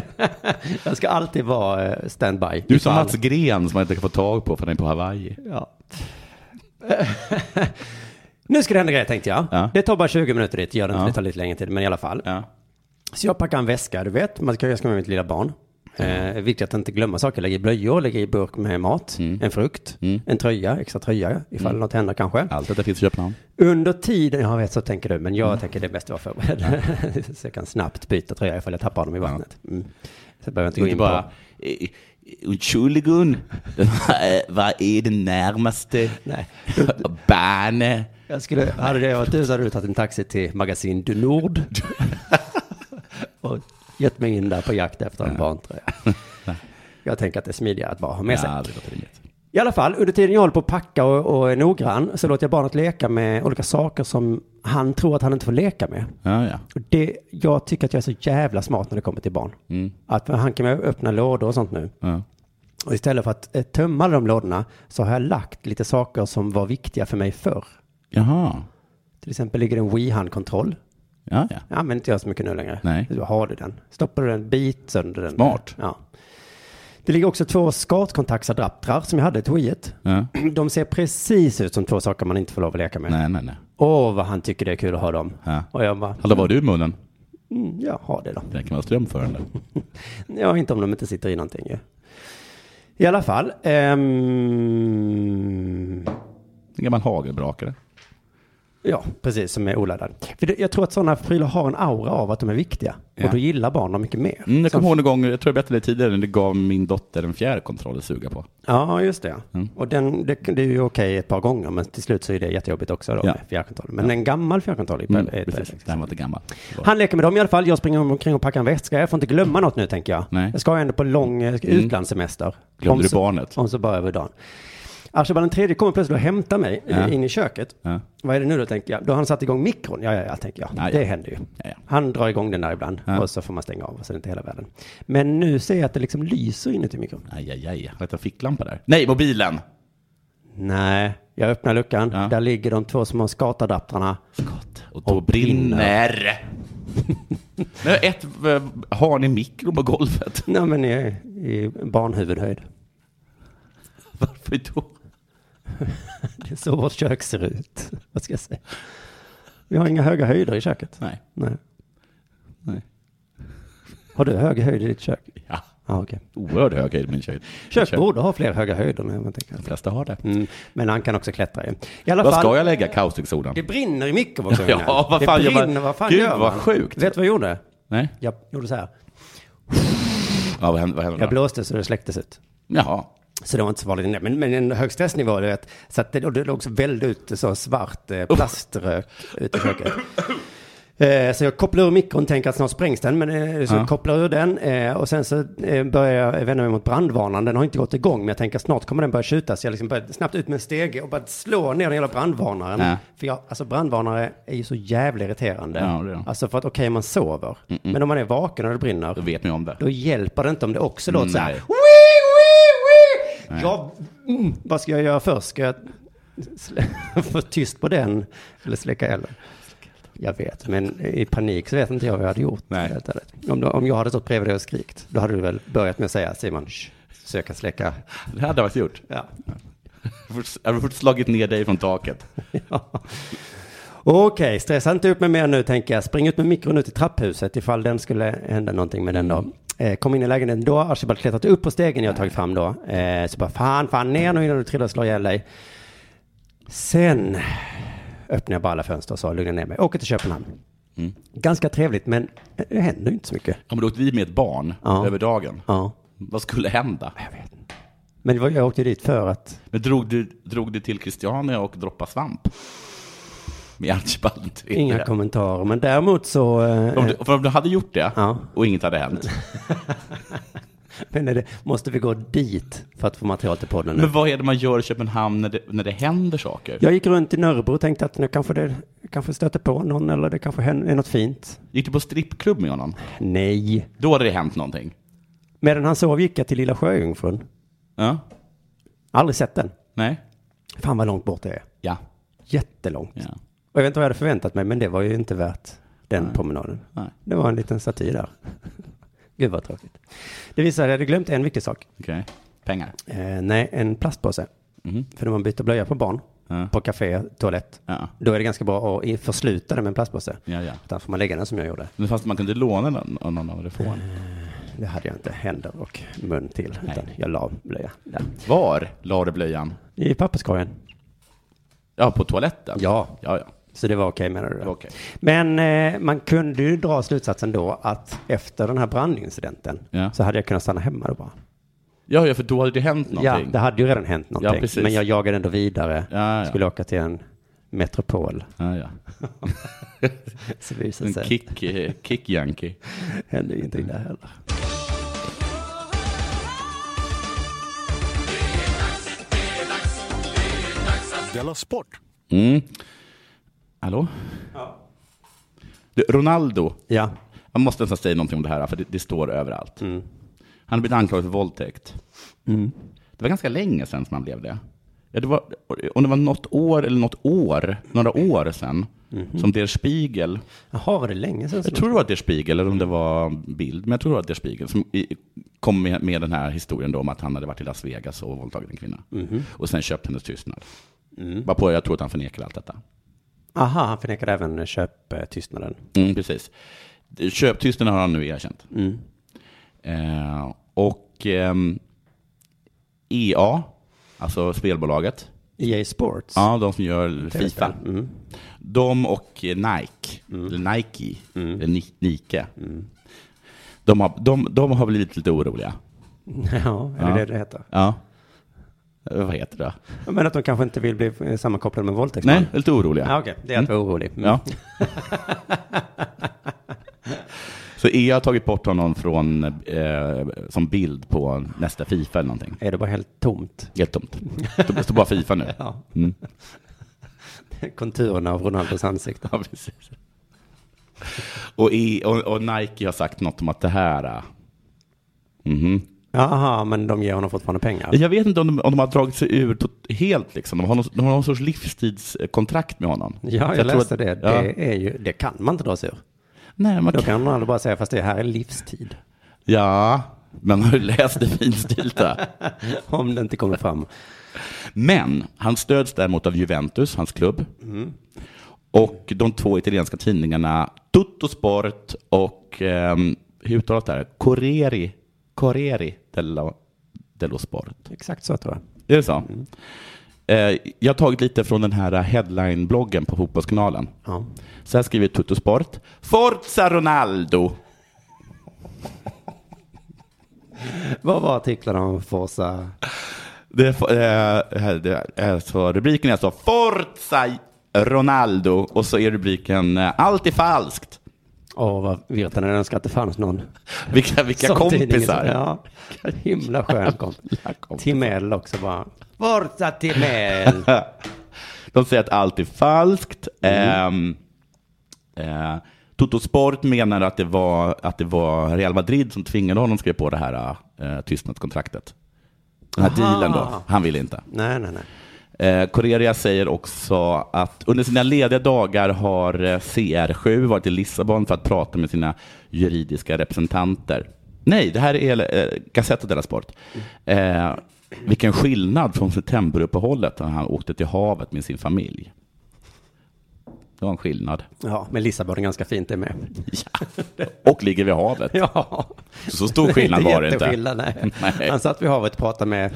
[SPEAKER 3] jag ska alltid vara eh, standby.
[SPEAKER 2] Du som
[SPEAKER 3] Ifall-
[SPEAKER 2] Mats Gren som man inte kan få tag på för han är på Hawaii.
[SPEAKER 3] Ja. nu ska det hända grejer tänkte jag.
[SPEAKER 2] Ja.
[SPEAKER 3] Det tar bara 20 minuter dit, gör det inte,
[SPEAKER 2] Ja.
[SPEAKER 3] det tar lite längre tid, men i alla fall.
[SPEAKER 2] Ja.
[SPEAKER 3] Så jag packar en väska, du vet, man ska jag ska med mitt lilla barn. Eh, viktigt att inte glömma saker. Lägg i blöjor, lägg i burk med mat, en frukt,
[SPEAKER 2] Mm. Mm.
[SPEAKER 3] en tröja, extra tröja ifall något händer kanske.
[SPEAKER 2] Allt detta finns i Köpenhamn.
[SPEAKER 3] Under tiden, jag vet så tänker du, men jag
[SPEAKER 2] Mm.
[SPEAKER 3] tänker det är bäst att vara förberedd. så jag kan snabbt byta tröja ifall jag tappar dem i vattnet. Mm. Så jag behöver inte gå
[SPEAKER 2] Inte
[SPEAKER 3] in
[SPEAKER 2] bara,
[SPEAKER 3] på.
[SPEAKER 2] eh, Entschuldigung, vad är det närmaste?
[SPEAKER 3] Nej.
[SPEAKER 2] Bane.
[SPEAKER 3] Jag skulle, hade det varit du så hade du tagit en taxi till Magasin du Nord. och gett mig in där på jakt efter en barntröja. Jag tänker att det är smidigare att bara ha med sig.
[SPEAKER 2] Ja, det låter rimligt.
[SPEAKER 3] I alla fall, under tiden jag håller på att packa och, och är noggrann så låter jag barnet leka med olika saker som han tror att han inte får leka med.
[SPEAKER 2] Ja, ja.
[SPEAKER 3] Och Det, jag tycker att jag är så jävla smart när det kommer till barn.
[SPEAKER 2] Mm.
[SPEAKER 3] Att han kan ju öppna lådor och sånt nu.
[SPEAKER 2] ja.
[SPEAKER 3] Och istället för att eh, tömma alla de lådorna så har jag lagt lite saker som var viktiga för mig förr.
[SPEAKER 2] Jaha.
[SPEAKER 3] Till exempel ligger det en Wii-handkontroll.
[SPEAKER 2] Ja, ja.
[SPEAKER 3] Jag använder inte jag så mycket nu längre.
[SPEAKER 2] Nej.
[SPEAKER 3] Du har du den. Stoppar du den, bit sönder den.
[SPEAKER 2] Smart.
[SPEAKER 3] Ja. Det ligger också två skartkontaktsadaptrar som jag hade till Wiiet.
[SPEAKER 2] ja.
[SPEAKER 3] De ser precis ut som två saker man inte får lov att leka med.
[SPEAKER 2] Nej, nej, nej.
[SPEAKER 3] Åh, vad han tycker det är kul att ha dem.
[SPEAKER 2] Ja.
[SPEAKER 3] Och jag bara,
[SPEAKER 2] Hallå, vad har du i munnen?
[SPEAKER 3] mm, jag har det då.
[SPEAKER 2] Det kan vara strömförande.
[SPEAKER 3] Ja, inte om de inte sitter i någonting ju. I alla fall. ehm,
[SPEAKER 2] En gammal hagelbrakare.
[SPEAKER 3] ja, precis, som är oladdad. För det, jag tror att sådana prylar har en aura av att de är viktiga.
[SPEAKER 2] Ja.
[SPEAKER 3] Och då gillar barn dem mycket mer.
[SPEAKER 2] Mm, jag
[SPEAKER 3] Som-
[SPEAKER 2] kommer ihåg en gång, jag tror jag berättade det tidigare, när du gav min dotter en fjärrkontroll att suga på.
[SPEAKER 3] Ja, just det.
[SPEAKER 2] Mm.
[SPEAKER 3] Och den, det, det är ju okej ett par gånger, men till slut så är det jättejobbigt också då
[SPEAKER 2] Ja.
[SPEAKER 3] med fjärrkontroll. Men en gammal fjärrkontroll är
[SPEAKER 2] Mm,
[SPEAKER 3] är- är-
[SPEAKER 2] precis. Den var inte gammal. Det var-
[SPEAKER 3] Han leker med dem i alla fall. Jag springer omkring och packar en väska. Jag får inte glömma något nu, tänker jag.
[SPEAKER 2] Nej. Mm.
[SPEAKER 3] Jag ska ändå på lång eh, utlandssemester.
[SPEAKER 2] Glömde
[SPEAKER 3] Om
[SPEAKER 2] du
[SPEAKER 3] så-
[SPEAKER 2] barnet?
[SPEAKER 3] Om så bara över dagen. Archibald den tredje kommer plötsligt och hämtar mig
[SPEAKER 2] Ja.
[SPEAKER 3] in i köket.
[SPEAKER 2] Ja.
[SPEAKER 3] Vad är det nu då, tänker jag. Då har han satt igång mikron. Ja, ja, ja, tänker jag.
[SPEAKER 2] Ja, ja.
[SPEAKER 3] Det händer ju.
[SPEAKER 2] Ja, ja.
[SPEAKER 3] Han drar igång den där ibland
[SPEAKER 2] Ja.
[SPEAKER 3] och så får man stänga av och så är det inte hela världen. Men nu ser jag att det liksom lyser inuti mikron.
[SPEAKER 2] Aj, aj, aj. Har jag en ficklampa där? Nej, mobilen!
[SPEAKER 3] Nej, jag öppnar luckan.
[SPEAKER 2] Ja.
[SPEAKER 3] Där ligger de två små skatadaptrarna.
[SPEAKER 2] Gott. Och då brinner. Nu är ett, eh, har ni mikro på golvet?
[SPEAKER 3] Nej, men i, i barnhuvudhöjd.
[SPEAKER 2] Varför då?
[SPEAKER 3] Det är så vårt kök ser ut. Vad ska jag säga? Vi har inga höga höjder i köket.
[SPEAKER 2] Nej.
[SPEAKER 3] Nej.
[SPEAKER 2] Nej.
[SPEAKER 3] Har du hög höjd i ditt kök?
[SPEAKER 2] Ja.
[SPEAKER 3] Ja, okej.
[SPEAKER 2] Oerhörd hög höjd på min kök.
[SPEAKER 3] Kök
[SPEAKER 2] Kök.
[SPEAKER 3] borde ha fler höga höjder. Men, jag tänker.
[SPEAKER 2] De flesta har det.
[SPEAKER 3] Mm, men han kan också klättra i. I alla
[SPEAKER 2] Vad
[SPEAKER 3] fall,
[SPEAKER 2] ska jag lägga kaustiksodan?
[SPEAKER 3] det brinner i mikrovågsugnen.
[SPEAKER 2] Ja, vad fan
[SPEAKER 3] det
[SPEAKER 2] gör man?
[SPEAKER 3] brinner, vad fan
[SPEAKER 2] Gud,
[SPEAKER 3] gör man?
[SPEAKER 2] vad sjukt.
[SPEAKER 3] Vet du vad jag gjorde?
[SPEAKER 2] Nej?
[SPEAKER 3] Jag gjorde så här.
[SPEAKER 2] Ja, vad händer, vad händer
[SPEAKER 3] Jag
[SPEAKER 2] då?
[SPEAKER 3] blåste så det släcktes ut.
[SPEAKER 2] Jaha.
[SPEAKER 3] Så det var inte så farligt. Men, men en hög stressnivå, du vet. Så att det, och det låg så väldigt ut så svart eh, plaströk ute i köket. Eh, så jag kopplar ur mikron, tänker att snart sprängs den. Men eh, så
[SPEAKER 2] Ja.
[SPEAKER 3] jag kopplar ur den eh, och sen så eh, börjar jag vända mig mot brandvarnaren. Den har inte gått igång, men jag tänker att snart kommer den börja tjuta. Så jag liksom börjar snabbt ut med en stege och bara slå ner den hela brandvarnaren.
[SPEAKER 2] Ja.
[SPEAKER 3] För jag, alltså brandvarnare är ju så jävla irriterande.
[SPEAKER 2] Ja, det är det.
[SPEAKER 3] Alltså för att okej, man sover. Men om man är vaken och det brinner
[SPEAKER 2] Då vet ni om det.
[SPEAKER 3] då hjälper det inte om det också låter så här.
[SPEAKER 2] Nej.
[SPEAKER 3] Wee, wee, wee. Jag, mm, vad ska jag göra först? Ska jag slä- få tyst på den eller släcka elden? Jag vet, men i panik så vet inte jag vad jag hade gjort.
[SPEAKER 2] Nej.
[SPEAKER 3] Helt ärligt. Om, du- om jag hade stått bredvid dig och skrikt, då hade du väl börjat med att säga Simon, shh, söka släcka.
[SPEAKER 2] Det hade jag faktiskt gjort.
[SPEAKER 3] Ja.
[SPEAKER 2] Jag hade fort slagit ner dig från taket.
[SPEAKER 3] Ja. Okej, stressa inte upp mig mer nu tänker jag. Spring ut med mikron ut i trapphuset ifall den skulle hända någonting med den då. Eh, kom in i lägenheten då, har Archibald klättrat upp på stegen jag har tagit fram då. Eh, så bara fan, fan ner nu innan du trillar och slår ihjäl dig. Sen öppnade jag bara alla fönster och så lugnade ner mig. Åker till Köpenhamn.
[SPEAKER 2] Mm.
[SPEAKER 3] Ganska trevligt men det händer ju inte så mycket.
[SPEAKER 2] Ja, men då åkte vi med ett barn
[SPEAKER 3] Ja.
[SPEAKER 2] över dagen.
[SPEAKER 3] Ja,
[SPEAKER 2] Vad skulle hända?
[SPEAKER 3] jag vet inte. Men det var, jag åkte dit för att
[SPEAKER 2] Men drog du, drog du till Christiania och droppade svamp? Med Archibald den tredje.
[SPEAKER 3] inga kommentarer. Men däremot så... eh,
[SPEAKER 2] Om du, för om du hade gjort det
[SPEAKER 3] Ja.
[SPEAKER 2] och inget hade hänt.
[SPEAKER 3] Men är det, måste vi gå dit för att få material till podden nu?
[SPEAKER 2] Men vad är det man gör i Köpenhamn när det, när det händer saker?
[SPEAKER 3] Jag gick runt i Nörrebro och tänkte att nu kanske det kanske stöter på någon eller det kanske händer, är något fint.
[SPEAKER 2] Gick du på strippklubb med honom?
[SPEAKER 3] Nej.
[SPEAKER 2] Då hade det hänt någonting.
[SPEAKER 3] Medan han sov gick jag till Lilla Sjöjungfrun.
[SPEAKER 2] Ja?
[SPEAKER 3] Aldrig sett den.
[SPEAKER 2] Nej?
[SPEAKER 3] Fan vad långt bort det är.
[SPEAKER 2] Ja.
[SPEAKER 3] Jättelångt.
[SPEAKER 2] ja.
[SPEAKER 3] Och jag vet inte vad jag hade förväntat mig, men det var ju inte värt den promenaden.
[SPEAKER 2] Nej.
[SPEAKER 3] Det var en liten staty där. Gud vad tråkigt. Det visade att jag hade glömt en viktig sak.
[SPEAKER 2] Okej. Pengar.
[SPEAKER 3] Eh, nej, en plastpåse.
[SPEAKER 2] Mhm.
[SPEAKER 3] För när man byter blöja på barn,
[SPEAKER 2] Ja.
[SPEAKER 3] på café, toalett,
[SPEAKER 2] Ja.
[SPEAKER 3] då är det ganska bra att i- försluta det med en plastpåse.
[SPEAKER 2] Ja, ja.
[SPEAKER 3] Utan får man lägga den som jag gjorde.
[SPEAKER 2] Men fast man kunde låna den av någon av det få en.
[SPEAKER 3] det hade jag inte händer och mun till.
[SPEAKER 2] Nej.
[SPEAKER 3] Utan jag la blöja där.
[SPEAKER 2] Var la du blöjan?
[SPEAKER 3] I papperskorgen.
[SPEAKER 2] Ja, på toaletten?
[SPEAKER 3] Ja.
[SPEAKER 2] Ja, ja.
[SPEAKER 3] Så det var okej menar du?
[SPEAKER 2] Det
[SPEAKER 3] då?
[SPEAKER 2] var okej.
[SPEAKER 3] Men eh, man kunde ju dra slutsatsen då att efter den här brandincidenten
[SPEAKER 2] Ja.
[SPEAKER 3] så hade jag kunnat stanna hemma då bara.
[SPEAKER 2] Ja, ja, för då hade det hänt någonting.
[SPEAKER 3] Ja, det hade ju redan hänt
[SPEAKER 2] Ja,
[SPEAKER 3] någonting.
[SPEAKER 2] precis.
[SPEAKER 3] men jag jagade ändå vidare.
[SPEAKER 2] Ja, ja.
[SPEAKER 3] Skulle åka till en metropol.
[SPEAKER 2] ja, ja.
[SPEAKER 3] Så visade
[SPEAKER 2] En
[SPEAKER 3] sig,
[SPEAKER 2] kick, eh, kick yankee.
[SPEAKER 3] hände ju ingenting där heller.
[SPEAKER 1] Della Sport!
[SPEAKER 2] Mm. Hallå? Du, Ronaldo,
[SPEAKER 3] Ja,
[SPEAKER 2] jag måste nästan säga någonting om det här, för det, det står överallt. Han har blivit anklagad för våldtäkt. Det var ganska länge sedan som han blev det. Ja, det var, om det var något år eller något år, några år sedan, som Der Spiegel,
[SPEAKER 3] jaha var det länge sedan? som-
[SPEAKER 2] jag tror det var Der Spiegel, eller om det var Bild, men jag tror det var Der Spiegel, som i, kom med, med den här historien då om att han hade varit i Las Vegas och våldtagit en kvinna. Och sen köpt hennes tystnad. Bara på, jag tror att han förnekar allt detta.
[SPEAKER 3] Aha, han förnekade även köptystnaden.
[SPEAKER 2] Mm, precis. Köptysten har han nu erkänt.
[SPEAKER 3] Mm.
[SPEAKER 2] Eh, och ehm, EA, alltså spelbolaget,
[SPEAKER 3] EA E Sports.
[SPEAKER 2] ja, de som gör Fifa,
[SPEAKER 3] Mm.
[SPEAKER 2] de och eh, Nike, eller Nike,
[SPEAKER 3] Mm.
[SPEAKER 2] eller Ni- Nike, de, har, de, de har blivit lite oroliga.
[SPEAKER 3] Ja, är det
[SPEAKER 2] Ja.
[SPEAKER 3] det det heter?
[SPEAKER 2] Ja. Eh, Vad heter det?
[SPEAKER 3] Men att de kanske inte vill bli eh, sammankopplade med våldtäktsman?
[SPEAKER 2] Nej, lite oroliga.
[SPEAKER 3] Ja, okej. Det är att vara orolig. Mm.
[SPEAKER 2] Ja. Så EA har tagit bort honom från, eh, som bild på nästa Fifa eller någonting.
[SPEAKER 3] Är det bara helt tomt?
[SPEAKER 2] Helt tomt. Det står bara Fifa nu.
[SPEAKER 3] Ja.
[SPEAKER 2] Mm.
[SPEAKER 3] Konturerna av Ronaldos ansikte.
[SPEAKER 2] Ja, precis. Och, i, och, och Nike har sagt något om att det här... eh, mhm.
[SPEAKER 3] Jaha, men de ger honom fortfarande pengar.
[SPEAKER 2] Jag vet inte om de, om de har dragit sig ur tot- helt. Liksom. De, har någon, de har någon sorts livstidskontrakt med honom. Så
[SPEAKER 3] Ja, jag,
[SPEAKER 2] tror
[SPEAKER 3] läste
[SPEAKER 2] att-
[SPEAKER 3] det.
[SPEAKER 2] ja.
[SPEAKER 3] Det, är ju, det kan man inte dra sig ur.
[SPEAKER 2] Nej, man
[SPEAKER 3] Då
[SPEAKER 2] kan,
[SPEAKER 3] kan Ronaldo bara säga, fast det här är livstid.
[SPEAKER 2] Ja, men har du läst det finstilta?
[SPEAKER 3] Om det inte kommer fram.
[SPEAKER 2] Men han stöds däremot av Juventus, hans klubb. Och de två italienska tidningarna Tutto Sport och, ehm, hur uttalas det här? Corrieri, Corrieri dello, dello Sport.
[SPEAKER 3] Exakt så tror jag.
[SPEAKER 2] Är det så? Eh, jag har tagit lite från den här headline-bloggen på Fotbollskanalen.
[SPEAKER 3] Ja.
[SPEAKER 2] Så här skriver Tutto Sport. Forza Ronaldo!
[SPEAKER 3] Vad var artiklarna om Forza?
[SPEAKER 2] Det, eh, här- det, eh, så rubriken är alltså Forza Ronaldo och så är rubriken eh, Allt är falskt.
[SPEAKER 3] Åh, vad Virtanen önskar att det fanns någon.
[SPEAKER 2] Vilka, vilka
[SPEAKER 3] som
[SPEAKER 2] kompisar.
[SPEAKER 3] tidningen. Ja, himla skön kompis.
[SPEAKER 2] kompisar.
[SPEAKER 3] Timell också bara. Forza Timell!
[SPEAKER 2] De säger att allt är falskt. Mm. Eh, Toto Sport menar att det, var, att det var Real Madrid som tvingade honom att skriva på det här eh, tystnadskontraktet. Den här
[SPEAKER 3] Aha.
[SPEAKER 2] dealen då. Han ville inte.
[SPEAKER 3] nej, nej, nej.
[SPEAKER 2] Eh, Correria säger också att under sina lediga dagar har eh, CR7 varit i Lissabon för att prata med sina juridiska representanter. Nej, det här är eh, Gazzetta della Sport. Eh, vilken skillnad från septemberuppehållet när han åkte till havet med sin familj. Det var en skillnad.
[SPEAKER 3] Ja, men Lissabon är ganska fint det med.
[SPEAKER 2] Och ligger vid havet.
[SPEAKER 3] Ja.
[SPEAKER 2] Så stor skillnad var det inte.
[SPEAKER 3] jätteskillnad, Nej.
[SPEAKER 2] Nej.
[SPEAKER 3] Han satt vid havet och pratade med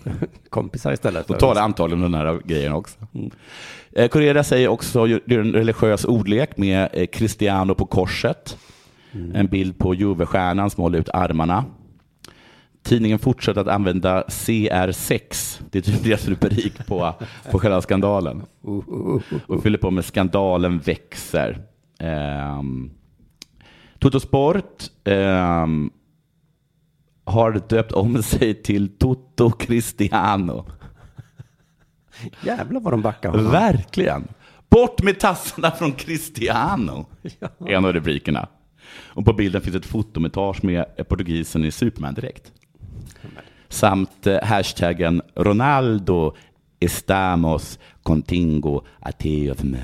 [SPEAKER 3] kompisar istället.
[SPEAKER 2] Då tar det antagligen den här grejen också. Eh, Correria säger också ju- det är en religiös ordlek med eh, Cristiano på korset. En bild på Juve-stjärnan som håller ut armarna. Tidningen fortsätter att använda CR6. Det är typ deras rubrik på, på själva skandalen. Och fyller på med skandalen växer. Um, Toto Sport ehm, har döpt om sig till Toto Cristiano.
[SPEAKER 3] Jävlar vad de backar honom.
[SPEAKER 2] Verkligen. Bort med tassarna från Cristiano, är en av rubrikerna. Och på bilden finns ett fotometage med portugisen i Superman-dräkt. Samt eh, hashtaggen Ronaldo estamos contigo a te of me.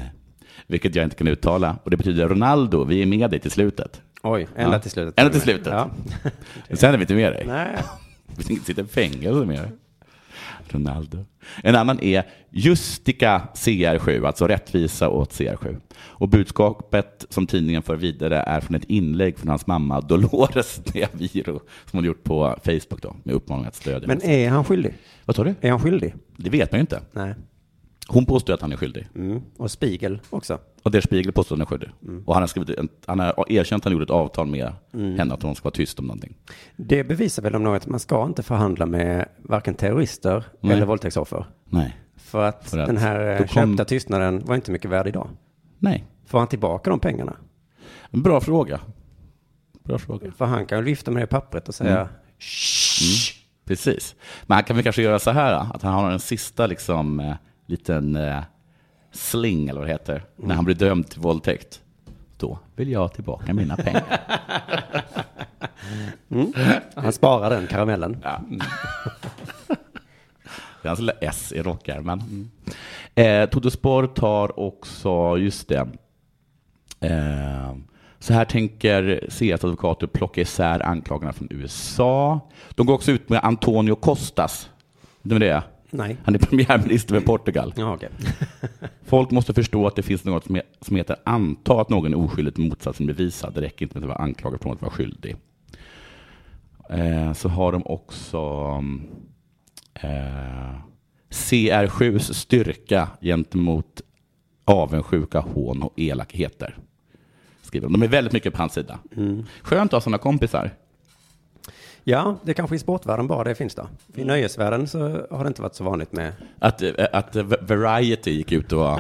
[SPEAKER 2] Vilket jag inte kan uttala. Och det betyder Ronaldo, vi är med dig till slutet.
[SPEAKER 3] Oj, ända
[SPEAKER 2] Ja.
[SPEAKER 3] till slutet.
[SPEAKER 2] Ända till slutet.
[SPEAKER 3] Ja.
[SPEAKER 2] Men sen är vi inte med dig.
[SPEAKER 3] Nej.
[SPEAKER 2] Vi sitter i fängelse med dig. Ronaldo. En annan är Justica CR7, alltså rättvisa åt CR7. Och budskapet som tidningen för vidare är från ett inlägg från hans mamma Dolores Neaviro som hon gjort på Facebook då, med uppmaning att stödja.
[SPEAKER 3] Men är han skyldig?
[SPEAKER 2] Vad sa du?
[SPEAKER 3] Är han skyldig?
[SPEAKER 2] Det vet man ju inte.
[SPEAKER 3] Nej.
[SPEAKER 2] Hon påstår att han är skyldig.
[SPEAKER 3] Mm. Och Spiegel också.
[SPEAKER 2] Och Der Spiegel påstår att han är skyldig. Och han har, skrivit, en- han har erkänt att han gjorde ett avtal med henne att hon ska vara tyst om någonting.
[SPEAKER 3] Det bevisar väl om något att man ska inte förhandla med varken terrorister
[SPEAKER 2] Nej.
[SPEAKER 3] eller våldtäktsoffer.
[SPEAKER 2] Nej.
[SPEAKER 3] För att,
[SPEAKER 2] För att
[SPEAKER 3] den här
[SPEAKER 2] då
[SPEAKER 3] eh,
[SPEAKER 2] kom-
[SPEAKER 3] köpta tystnaden var inte mycket värd idag.
[SPEAKER 2] Nej.
[SPEAKER 3] Får han tillbaka de pengarna?
[SPEAKER 2] En Bra fråga. Bra fråga.
[SPEAKER 3] För han kan ju vifta med det pappret och säga
[SPEAKER 2] Mm. Precis. Men han kan väl kanske göra så här, då, att han har en sista liksom, eh, liten eh, sling, eller vad det heter, när han blir dömd till våldtäkt. Då vill jag ha tillbaka mina pengar.
[SPEAKER 3] han sparar den karamellen.
[SPEAKER 2] Det är hans lilla S i rockärmen. Mm. Eh, Totospor tar också, just det, eh, så här tänker CS advokater plocka isär anklagarna från USA. De går också ut med Antonio Costas. Vet ni vem det är?
[SPEAKER 3] Nej.
[SPEAKER 2] Han är premiärminister med Portugal.
[SPEAKER 3] Ja, okej.
[SPEAKER 2] Folk måste förstå att det finns något som, he- som heter anta att någon är oskyldig till motsatsen bevisad. Det räcker inte med att vara anklagad från att vara skyldig. Eh, så har de också mm, eh, CR7s styrka gentemot avundsjuka, hån och elakheter. Skriver de. de är väldigt mycket på hans sida.
[SPEAKER 3] Mm.
[SPEAKER 2] Skönt att ha sådana kompisar.
[SPEAKER 3] Ja, det kanske i sportvärlden bara det finns då. I nöjesvärlden så har det inte varit så vanligt med.
[SPEAKER 2] Att, eh, att eh, Variety gick ut och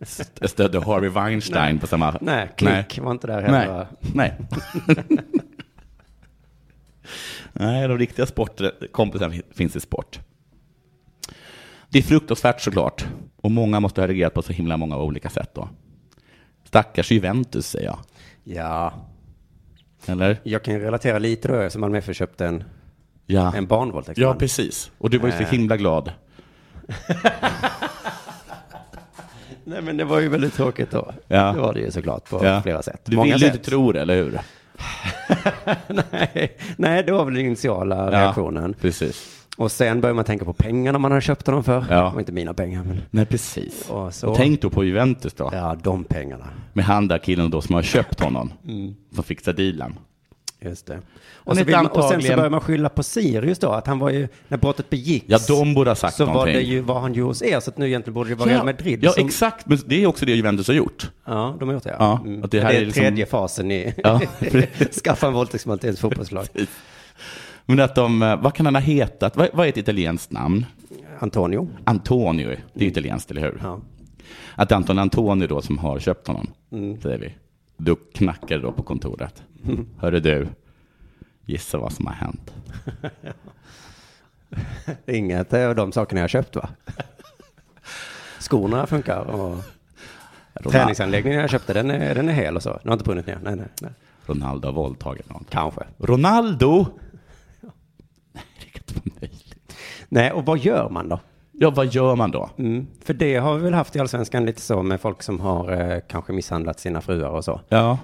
[SPEAKER 2] st- stödde Harvey Weinstein på samma...
[SPEAKER 3] Nej, klick var inte där heller.
[SPEAKER 2] Nej. Nej. Nej, de riktiga sportkompisarna finns i sport. Det är fruktansvärt såklart. Och många måste ha reagerat på så himla många olika sätt då. Stackars Juventus säger jag.
[SPEAKER 3] Ja,
[SPEAKER 2] Eller?
[SPEAKER 3] jag kan ju relatera lite då som Malmö FF köpte en,
[SPEAKER 2] Ja.
[SPEAKER 3] en Eh, barnvåldtäktsman.
[SPEAKER 2] Ja, precis. Och du var ju så himla glad.
[SPEAKER 3] Nej, men det var ju väldigt tråkigt då.
[SPEAKER 2] Ja.
[SPEAKER 3] Det var det ju såklart på
[SPEAKER 2] Ja.
[SPEAKER 3] flera sätt.
[SPEAKER 2] Du
[SPEAKER 3] Många
[SPEAKER 2] ville
[SPEAKER 3] sätt.
[SPEAKER 2] inte tro det, eller hur?
[SPEAKER 3] Nej. Nej, det var väl den initiala reaktionen.
[SPEAKER 2] Precis.
[SPEAKER 3] Och sen börjar man tänka på pengarna man har köpt dem för.
[SPEAKER 2] Ja.
[SPEAKER 3] Det var inte mina pengar, men
[SPEAKER 2] Nej, precis.
[SPEAKER 3] Och så-
[SPEAKER 2] Och tänk då på Juventus då.
[SPEAKER 3] ja, de pengarna.
[SPEAKER 2] Med han där killen då som har köpt honom.
[SPEAKER 3] Mm.
[SPEAKER 2] Som fixar dealen.
[SPEAKER 3] Just det.
[SPEAKER 2] Men
[SPEAKER 3] Och, så
[SPEAKER 2] ett
[SPEAKER 3] vill man, och sen så
[SPEAKER 2] antagligen-
[SPEAKER 3] börjar man skylla på Sirius då, att han var ju, när brottet begicks.
[SPEAKER 2] Ja, de borde ha sagt
[SPEAKER 3] så var
[SPEAKER 2] någonting.
[SPEAKER 3] det ju vad han gjorde hos er, så att nu egentligen borde det vara Real Madrid liksom-
[SPEAKER 2] Ja,
[SPEAKER 3] som...
[SPEAKER 2] exakt. Men det är också det Juventus har gjort.
[SPEAKER 3] Ja, de har gjort det.
[SPEAKER 2] Ja,
[SPEAKER 3] Mm.
[SPEAKER 2] att det här
[SPEAKER 3] det
[SPEAKER 2] är
[SPEAKER 3] är
[SPEAKER 2] liksom-
[SPEAKER 3] tredje fasen i...
[SPEAKER 2] Ja, precis.
[SPEAKER 3] Skaffa en våldtäktsman till ett fotbollslag.
[SPEAKER 2] Men att de, eh, vad kan han ha hetat? Vad, vad är ett italienskt namn?
[SPEAKER 3] Antonio.
[SPEAKER 2] Antonio, det är italienskt, eller hur?
[SPEAKER 3] Ja.
[SPEAKER 2] Att Anton Antonio då som har köpt honom,
[SPEAKER 3] Mm.
[SPEAKER 2] säger vi. Då knackar det då på kontoret. Hörru du, gissa vad som har hänt.
[SPEAKER 3] Inget av de sakerna jag köpt va? Skorna funkar och
[SPEAKER 2] Ronaldo,
[SPEAKER 3] träningsanläggningen jag köpte den är, den är hel och så. Den har inte brunnit ner. Nej, nej, nej.
[SPEAKER 2] Ronaldo har våldtagit någon.
[SPEAKER 3] Kanske.
[SPEAKER 2] Ronaldo! Nej, det kan inte vara möjligt.
[SPEAKER 3] Nej, och vad gör man då?
[SPEAKER 2] Ja, vad gör man då?
[SPEAKER 3] Mm. För det har vi väl haft i allsvenskan lite så med folk som har eh, kanske misshandlat sina fruar och så.
[SPEAKER 2] Ja,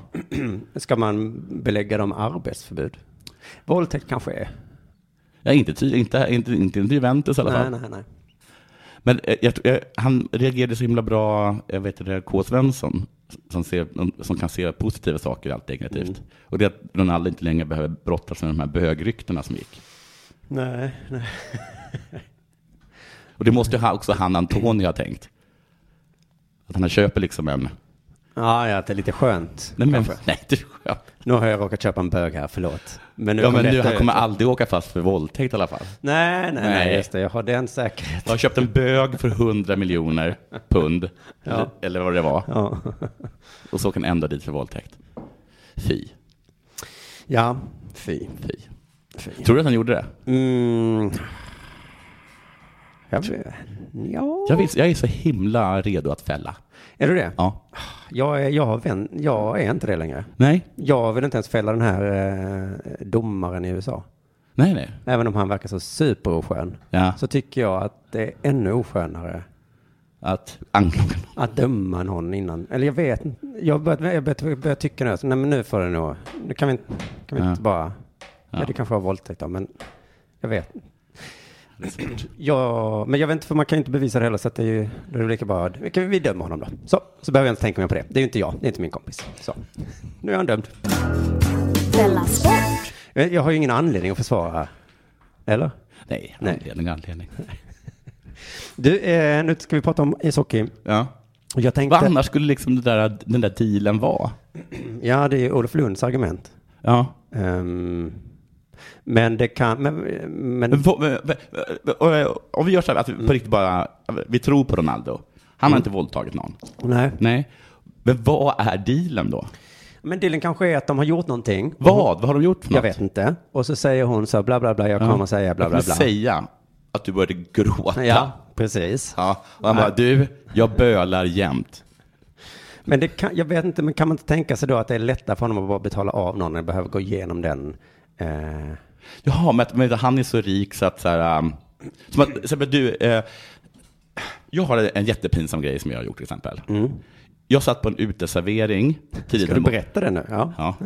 [SPEAKER 3] Ska man belägga dem arbetsförbud? Våldtäkt kanske är.
[SPEAKER 2] ja inte, ty, inte, inte, inte, inte Juventus i alla fall.
[SPEAKER 3] Nej, nej, nej.
[SPEAKER 2] Men eh, jag, tror- eh, han reagerade så himla bra, jag vet det, K. Svensson, som, ser, som kan se positiva saker i allt negativt.
[SPEAKER 3] Mm.
[SPEAKER 2] Och det är att Ronaldo inte längre behöver brottas med de här bögryktena som gick.
[SPEAKER 3] Nej, nej.
[SPEAKER 2] Och det måste ju ha- också han Antonio ha tänkt. Att han köper liksom en...
[SPEAKER 3] Ja, ja, det är lite skönt.
[SPEAKER 2] Nej, men,
[SPEAKER 3] kanske.
[SPEAKER 2] nej det är skönt.
[SPEAKER 3] Nu har jag råkat köpa en bög här, förlåt. Men nu
[SPEAKER 2] Ja,
[SPEAKER 3] kom
[SPEAKER 2] men nu,
[SPEAKER 3] detta
[SPEAKER 2] han kommer
[SPEAKER 3] ut.
[SPEAKER 2] aldrig åka fast för våldtäkt i alla fall.
[SPEAKER 3] Nej, nej, nej,
[SPEAKER 2] Nej.
[SPEAKER 3] just det. Jag har den säkerheten.
[SPEAKER 2] Jag har köpt en bög för 100 miljoner pund, eller, eller vad det var.
[SPEAKER 3] Ja.
[SPEAKER 2] Och så kan han ändå dit för våldtäkt. Fy,
[SPEAKER 3] ja, fy.
[SPEAKER 2] fy. Tror du att han gjorde det?
[SPEAKER 3] Mm. Jag, ja.
[SPEAKER 2] Jag, vill, jag är så himla redo att fälla.
[SPEAKER 3] Är du det?
[SPEAKER 2] Ja.
[SPEAKER 3] Jag, är, jag, har vän, jag är inte det längre.
[SPEAKER 2] Nej,
[SPEAKER 3] Jag vill inte ens fälla den här eh, domaren i USA.
[SPEAKER 2] nej, nej.
[SPEAKER 3] Även om han verkar så superoskön.
[SPEAKER 2] Ja.
[SPEAKER 3] Så tycker jag att det är ännu oskönare
[SPEAKER 2] Att anklaga någon.
[SPEAKER 3] att döma någon innan. Eller jag vet inte. Jag börjar jag börjat, jag börjat tycka nu. Så, nej men nu får det nog. Nu kan vi, inte- kan vi
[SPEAKER 2] Ja.
[SPEAKER 3] inte bara. Ja.
[SPEAKER 2] Ja.
[SPEAKER 3] det kanske var våldtäkt då. Men jag vet.
[SPEAKER 2] Det är svårt.
[SPEAKER 3] Ja, men jag vet inte, för man kan ju inte bevisa det heller, så att det är ju, det är ju lika bra, vi, kan, vi dömer honom då. Så, så behöver jag inte tänka mer på det. Det är ju inte jag, det är inte min kompis. Så, nu är han dömd.
[SPEAKER 4] Della Sport!
[SPEAKER 3] Eh, Jag har ju ingen anledning att försvara, eller?
[SPEAKER 2] Nej,
[SPEAKER 3] Nej.
[SPEAKER 2] anledning, anledning.
[SPEAKER 3] Du, eh, nu ska vi prata om ishockey.
[SPEAKER 2] Ja.
[SPEAKER 3] Och Jag tänkte,
[SPEAKER 2] Vad annars skulle liksom det där, den där dealen vara?
[SPEAKER 3] ja det är ju Olof Lunds argument.
[SPEAKER 2] Ja.
[SPEAKER 3] Ehm, men det kan, men,
[SPEAKER 2] Men
[SPEAKER 3] men
[SPEAKER 2] på- men- men- men- eh, Om vi gör så här, att vi på riktigt bara, vi tror på Ronaldo. Han har inte våldtagit någon.
[SPEAKER 3] nej.
[SPEAKER 2] Mm. Nej. Men vad är dealen då?
[SPEAKER 3] Men dealen kanske är att de har gjort någonting.
[SPEAKER 2] Vad? Vad har de gjort för något?
[SPEAKER 3] Jag vet inte. Och så säger hon så här, bla bla bla, jag kommer säga bla bla
[SPEAKER 2] Jag kommer
[SPEAKER 3] bla.
[SPEAKER 2] säga att du började gråta.
[SPEAKER 3] Ja, precis.
[SPEAKER 2] Ja, och han bara, du, jag bölar jämt.
[SPEAKER 3] Men det kan, jag vet inte, men kan man inte tänka sig då att det är lättare för honom att bara betala av någon än behöver gå igenom den? Eh,
[SPEAKER 2] Jaha, men, men han är så rik så att så här, um, som att, så här, du, eh, jag har en jättepinsam grej som jag har gjort till exempel. Jag satt på en uteservering tidigt
[SPEAKER 3] Mm. ska du
[SPEAKER 2] en, mor-
[SPEAKER 3] berätta det nu? Ja.
[SPEAKER 2] ja.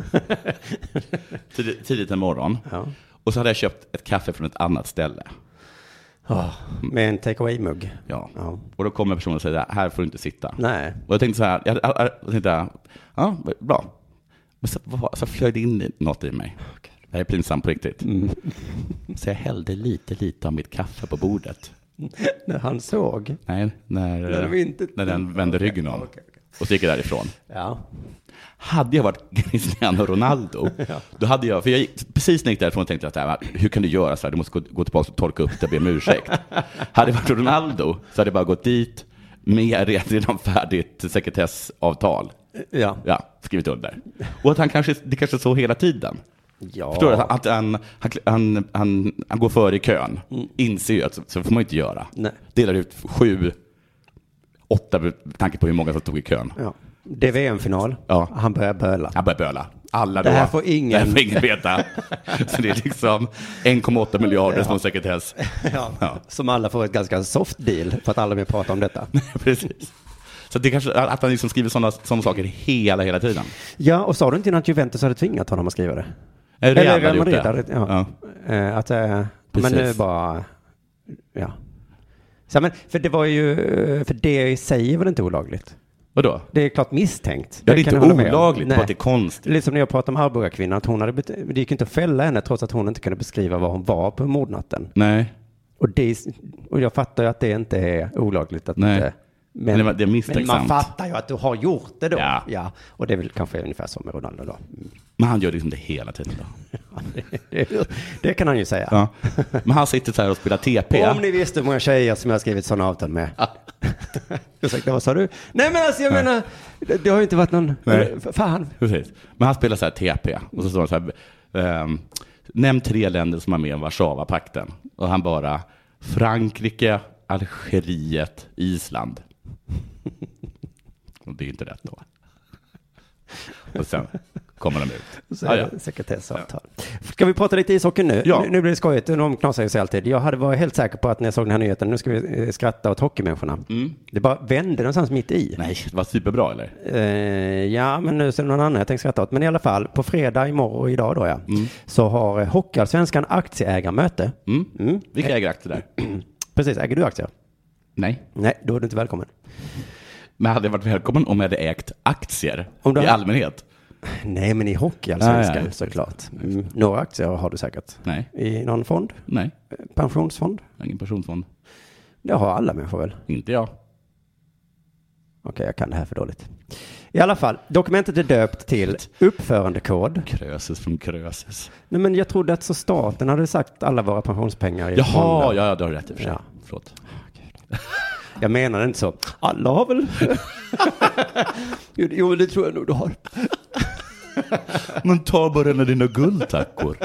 [SPEAKER 2] tidigt, tidigt en morgon. Och så hade jag köpt ett kaffe från ett annat ställe.
[SPEAKER 3] Med en take away-mugg?
[SPEAKER 2] Ja.
[SPEAKER 3] Ja.
[SPEAKER 2] Och då kommer personen och säger, här får du inte sitta.
[SPEAKER 3] Nej.
[SPEAKER 2] Och jag tänkte så här, jag, jag, jag, jag tänkte, ja, bra. Men så, vad- så flög det in i- något i mig. Det här är pinsamt på riktigt.
[SPEAKER 3] Mm.
[SPEAKER 2] Så jag hällde lite, lite av mitt kaffe på bordet.
[SPEAKER 3] När han såg?
[SPEAKER 2] Nej, när,
[SPEAKER 3] När du inte-
[SPEAKER 2] när den vände ryggen om.
[SPEAKER 3] okej, okej.
[SPEAKER 2] Och så gick jag därifrån.
[SPEAKER 3] Ja.
[SPEAKER 2] Hade jag varit Cristiano Ronaldo, då hade jag, för jag gick, precis när jag gick därifrån tänkte jag att hur kan du göra så här, du måste gå, gå tillbaka och torka upp det och be om ursäkt. hade jag varit Ronaldo så hade jag bara gått dit med redan färdigt sekretessavtal.
[SPEAKER 3] Ja.
[SPEAKER 2] Ja, skrivit under. Och att han kanske, det kanske är så hela tiden.
[SPEAKER 3] ja.
[SPEAKER 2] Förstår du? Att att han, han, han, han, han går före i kön, inser ju att så, så får man ju inte göra.
[SPEAKER 3] Mm. Nej.
[SPEAKER 2] Delar ut sju, åtta med tanke på hur många som stod i kön.
[SPEAKER 3] Ja. Det är VM-final.
[SPEAKER 2] Ja.
[SPEAKER 3] Han börjar böla.
[SPEAKER 2] Han börjar böla. Alla
[SPEAKER 3] Det
[SPEAKER 2] då.
[SPEAKER 3] här får ingen-
[SPEAKER 2] Det här får ingen veta. så det är liksom 1,8 miljarder som sekretess. Ja.
[SPEAKER 3] Som alla får ett ganska soft deal för att alla vill prata om detta.
[SPEAKER 2] Precis. Så det kanske, att han liksom skriver sådana såna saker hela, hela tiden.
[SPEAKER 3] Ja, och sa du inte innan att Juventus hade tvingat honom att skriva det?
[SPEAKER 2] Real hade gjort
[SPEAKER 3] Madrid
[SPEAKER 2] det.
[SPEAKER 3] hade, ja. Eh, Att, eh, men
[SPEAKER 2] Precis.
[SPEAKER 3] nu bara, ja. Så, men, för det var ju, eh, för det i sig är väl inte olagligt?
[SPEAKER 2] Vadå?
[SPEAKER 3] Det är klart misstänkt.
[SPEAKER 2] Ja, det är
[SPEAKER 3] kan
[SPEAKER 2] inte
[SPEAKER 3] jag hålla med om.
[SPEAKER 2] olagligt,
[SPEAKER 3] Nej.
[SPEAKER 2] bara att det är konstigt.
[SPEAKER 3] Lite som när jag pratade om Arboga-kvinnan, att hon hade, bet- det gick inte att fälla henne trots att hon inte kunde beskriva var hon var på mordnatten.
[SPEAKER 2] Nej.
[SPEAKER 3] Och, det, är- och jag fattar ju att det inte är olagligt att
[SPEAKER 2] Nej.
[SPEAKER 3] inte...
[SPEAKER 2] Men det var- det är
[SPEAKER 3] men
[SPEAKER 2] misstänksamt.
[SPEAKER 3] man fattar ju att du har gjort det då.
[SPEAKER 2] Ja.
[SPEAKER 3] Och det är väl kanske ungefär som med Ronaldo då.
[SPEAKER 2] Men han gör liksom det hela tiden. Då.
[SPEAKER 3] Det, det kan han ju säga.
[SPEAKER 2] Ja. Men han sitter så här och spelar TP.
[SPEAKER 3] Om ni visste hur många tjejer som jag har skrivit sådana avtal med. Ursäkta, vad sa du? Nej men alltså jag menar, det, det har ju inte varit någon...
[SPEAKER 2] Nej.
[SPEAKER 3] Fan.
[SPEAKER 2] Precis. Men han spelar så här TP. Och så står det så här. ehm, nämn tre länder som är med i Warszawapakten. Och han bara Frankrike, Algeriet, Island. Och det är ju inte rätt då. Och sen kommer de ut.
[SPEAKER 3] Så är
[SPEAKER 2] Ja, ja.
[SPEAKER 3] det sekretessavtal. Ska vi prata lite ishockey nu?
[SPEAKER 2] Ja.
[SPEAKER 3] Nu, nu blir det skojigt, de knasar ju sig alltid. Jag hade varit helt säker på att när jag såg den här nyheten, nu ska vi eh, skratta åt hockeymänniskorna.
[SPEAKER 2] Mm.
[SPEAKER 3] Det bara vände någonstans mitt i.
[SPEAKER 2] Nej, det var superbra eller?
[SPEAKER 3] Eh, ja, men nu ser det någon annan jag tänkte skratta åt. Men i alla fall, på fredag, imorgon och idag då ja, så har eh, Hockeyallsvenskan aktieägarmöte.
[SPEAKER 2] Mm. Vilka äger aktier där?
[SPEAKER 3] Precis, äger du aktier?
[SPEAKER 2] Nej.
[SPEAKER 3] Nej, då är du inte välkommen.
[SPEAKER 2] Men hade jag varit välkommen om jag hade ägt aktier
[SPEAKER 3] Om du
[SPEAKER 2] i
[SPEAKER 3] hade-
[SPEAKER 2] allmänhet?
[SPEAKER 3] Nej, men i Hockeyallsvenskan
[SPEAKER 2] Ja, ja, just det.
[SPEAKER 3] såklart. Mm. Några aktier har du säkert.
[SPEAKER 2] Nej.
[SPEAKER 3] I någon fond?
[SPEAKER 2] Nej,
[SPEAKER 3] Eh, Pensionsfond?
[SPEAKER 2] jag har ingen personfond.
[SPEAKER 3] Det har alla människor väl?
[SPEAKER 2] Inte jag.
[SPEAKER 3] Okej, jag kan det här för dåligt. I alla fall, dokumentet är döpt till uppförandekod.
[SPEAKER 2] Krösus från Krösus.
[SPEAKER 3] Nej, men jag trodde att så staten hade sagt alla våra pensionspengar i
[SPEAKER 2] Jaha,
[SPEAKER 3] fonder.
[SPEAKER 2] ja, ja, du har rätt i och för sig.
[SPEAKER 3] Ja.
[SPEAKER 2] Förlåt.
[SPEAKER 3] Jag menade inte så. Alla har väl... Jo, det- jo, det tror jag nog du har.
[SPEAKER 2] Men ta bara en av dina guldtackor.